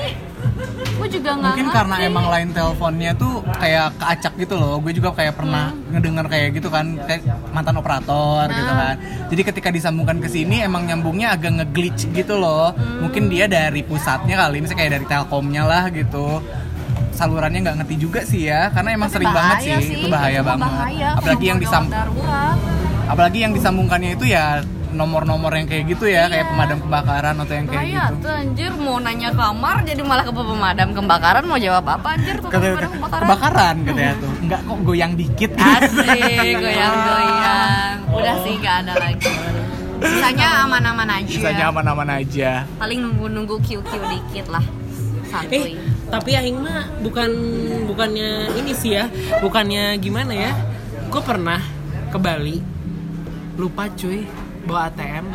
D: Gue juga nggak
A: mungkin
D: ngerti.
A: karena emang lain teleponnya tuh kayak keacak gitu loh gue juga kayak pernah
D: Hmm.
A: ngedengar kayak gitu kan kayak mantan operator gitu
D: Ah.
A: kan jadi ketika disambungkan ke sini emang nyambungnya agak ngeglitch gitu loh
D: Hmm.
A: mungkin dia dari pusatnya kali misalnya kayak dari telkomnya lah gitu salurannya nggak ngerti juga sih ya karena emang
D: Tapi
A: sering banget
D: bahaya
A: sih, itu bahaya
D: cuma
A: banget
D: bahaya kalau
A: apalagi yang
D: gawat
A: disam
D: darurat.
A: apalagi yang disambungkannya itu ya nomor-nomor yang kayak gitu ya kayak pemadam kebakaran atau yang kayak
D: Iya. Bahaya
A: gitu
D: tuh anjir mau nanya kamar jadi malah ke pemadam kebakaran mau jawab apa anjir tuh
A: Kata-
D: pemadam kebakaran.
A: kebakaran Iya. katanya tuh nggak kok goyang dikit gitu.
D: Asik goyang-goyang. Udah sih gak ada lagi. Sisanya aman-aman aja.
A: Iya. Sisanya aman-aman aja.
D: Paling nunggu-nunggu QQ dikit lah.
B: Eh,
D: Santuy.
B: tapi aing mah bukan bukannya ini sih ya, bukannya gimana ya?
C: Gue pernah ke Bali, lupa cuy bawa ATM.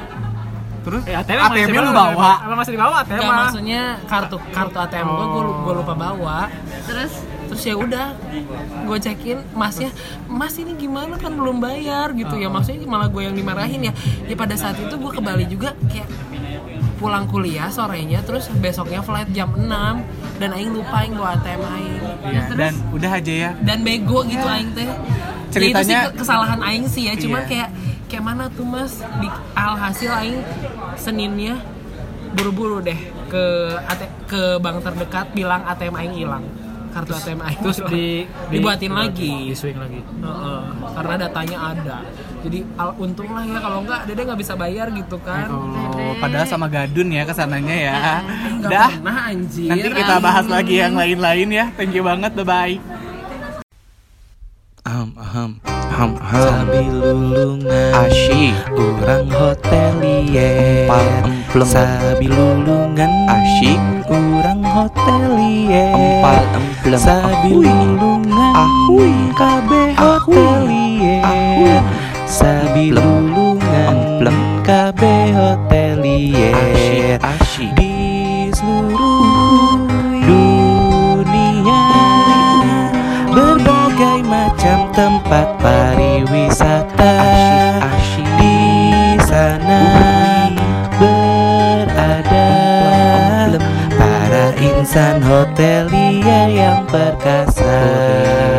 A: Terus
E: Ya, ATM, masih
A: ATM lu
E: dibawa,
A: bawa.
E: Apa masih dibawa ATM?
C: Nggak,
E: mah?
C: maksudnya kartu kartu ATM gue gue lupa bawa.
D: Terus
C: Terus ya udah, gue cekin masnya, mas ini gimana kan belum bayar gitu ya maksudnya malah gue yang dimarahin ya. Ya pada saat itu gue ke Bali juga kayak pulang kuliah sorenya terus besoknya flight jam 6 dan aing lupa aing bawa ATM aing.
A: Iya,
C: Terus-
A: dan udah aja ya.
C: dan bego gitu aing teh.
A: Ceritanya-
C: Ya, itu sih ke- kesalahan aing sih ya, cuman
A: Iya.
C: kayak kayak mana tuh Mas? Di, alhasil aing Seninnya buru-buru deh ke AT- ke bank terdekat bilang ATM aing hilang. Kartu ATM aing
E: Terus
C: hilang.
E: di, di-
C: dibuatin
E: dibuatin,
C: lagi.
E: di swing lagi.
C: Heeh, karena datanya ada. Jadi al- untung lah ya kalau enggak Dede nggak bisa bayar gitu kan.
A: Oh, padahal sama Gadun ya kesananya ya.
D: Iya.
C: Nggak
A: Dah,
C: pernah anjir.
A: nanti kita
C: aing.
A: bahas lagi yang lain-lain ya. Thank you banget, bye-bye.
F: Aham, aham, aham, aham. Sabi lulungan Asyik Urang hotelier Empal Sabi lulungan Asyik Urang hotelier Empal emplem Sabi lulungan Ahui Kabe hotelier Sabi lulungan Emplem Kabe hotelier Asyik Asyik Di seluruh dunia Berbagai macam tempat pariwisata Di sana berada Para insan hotelia yang perkasa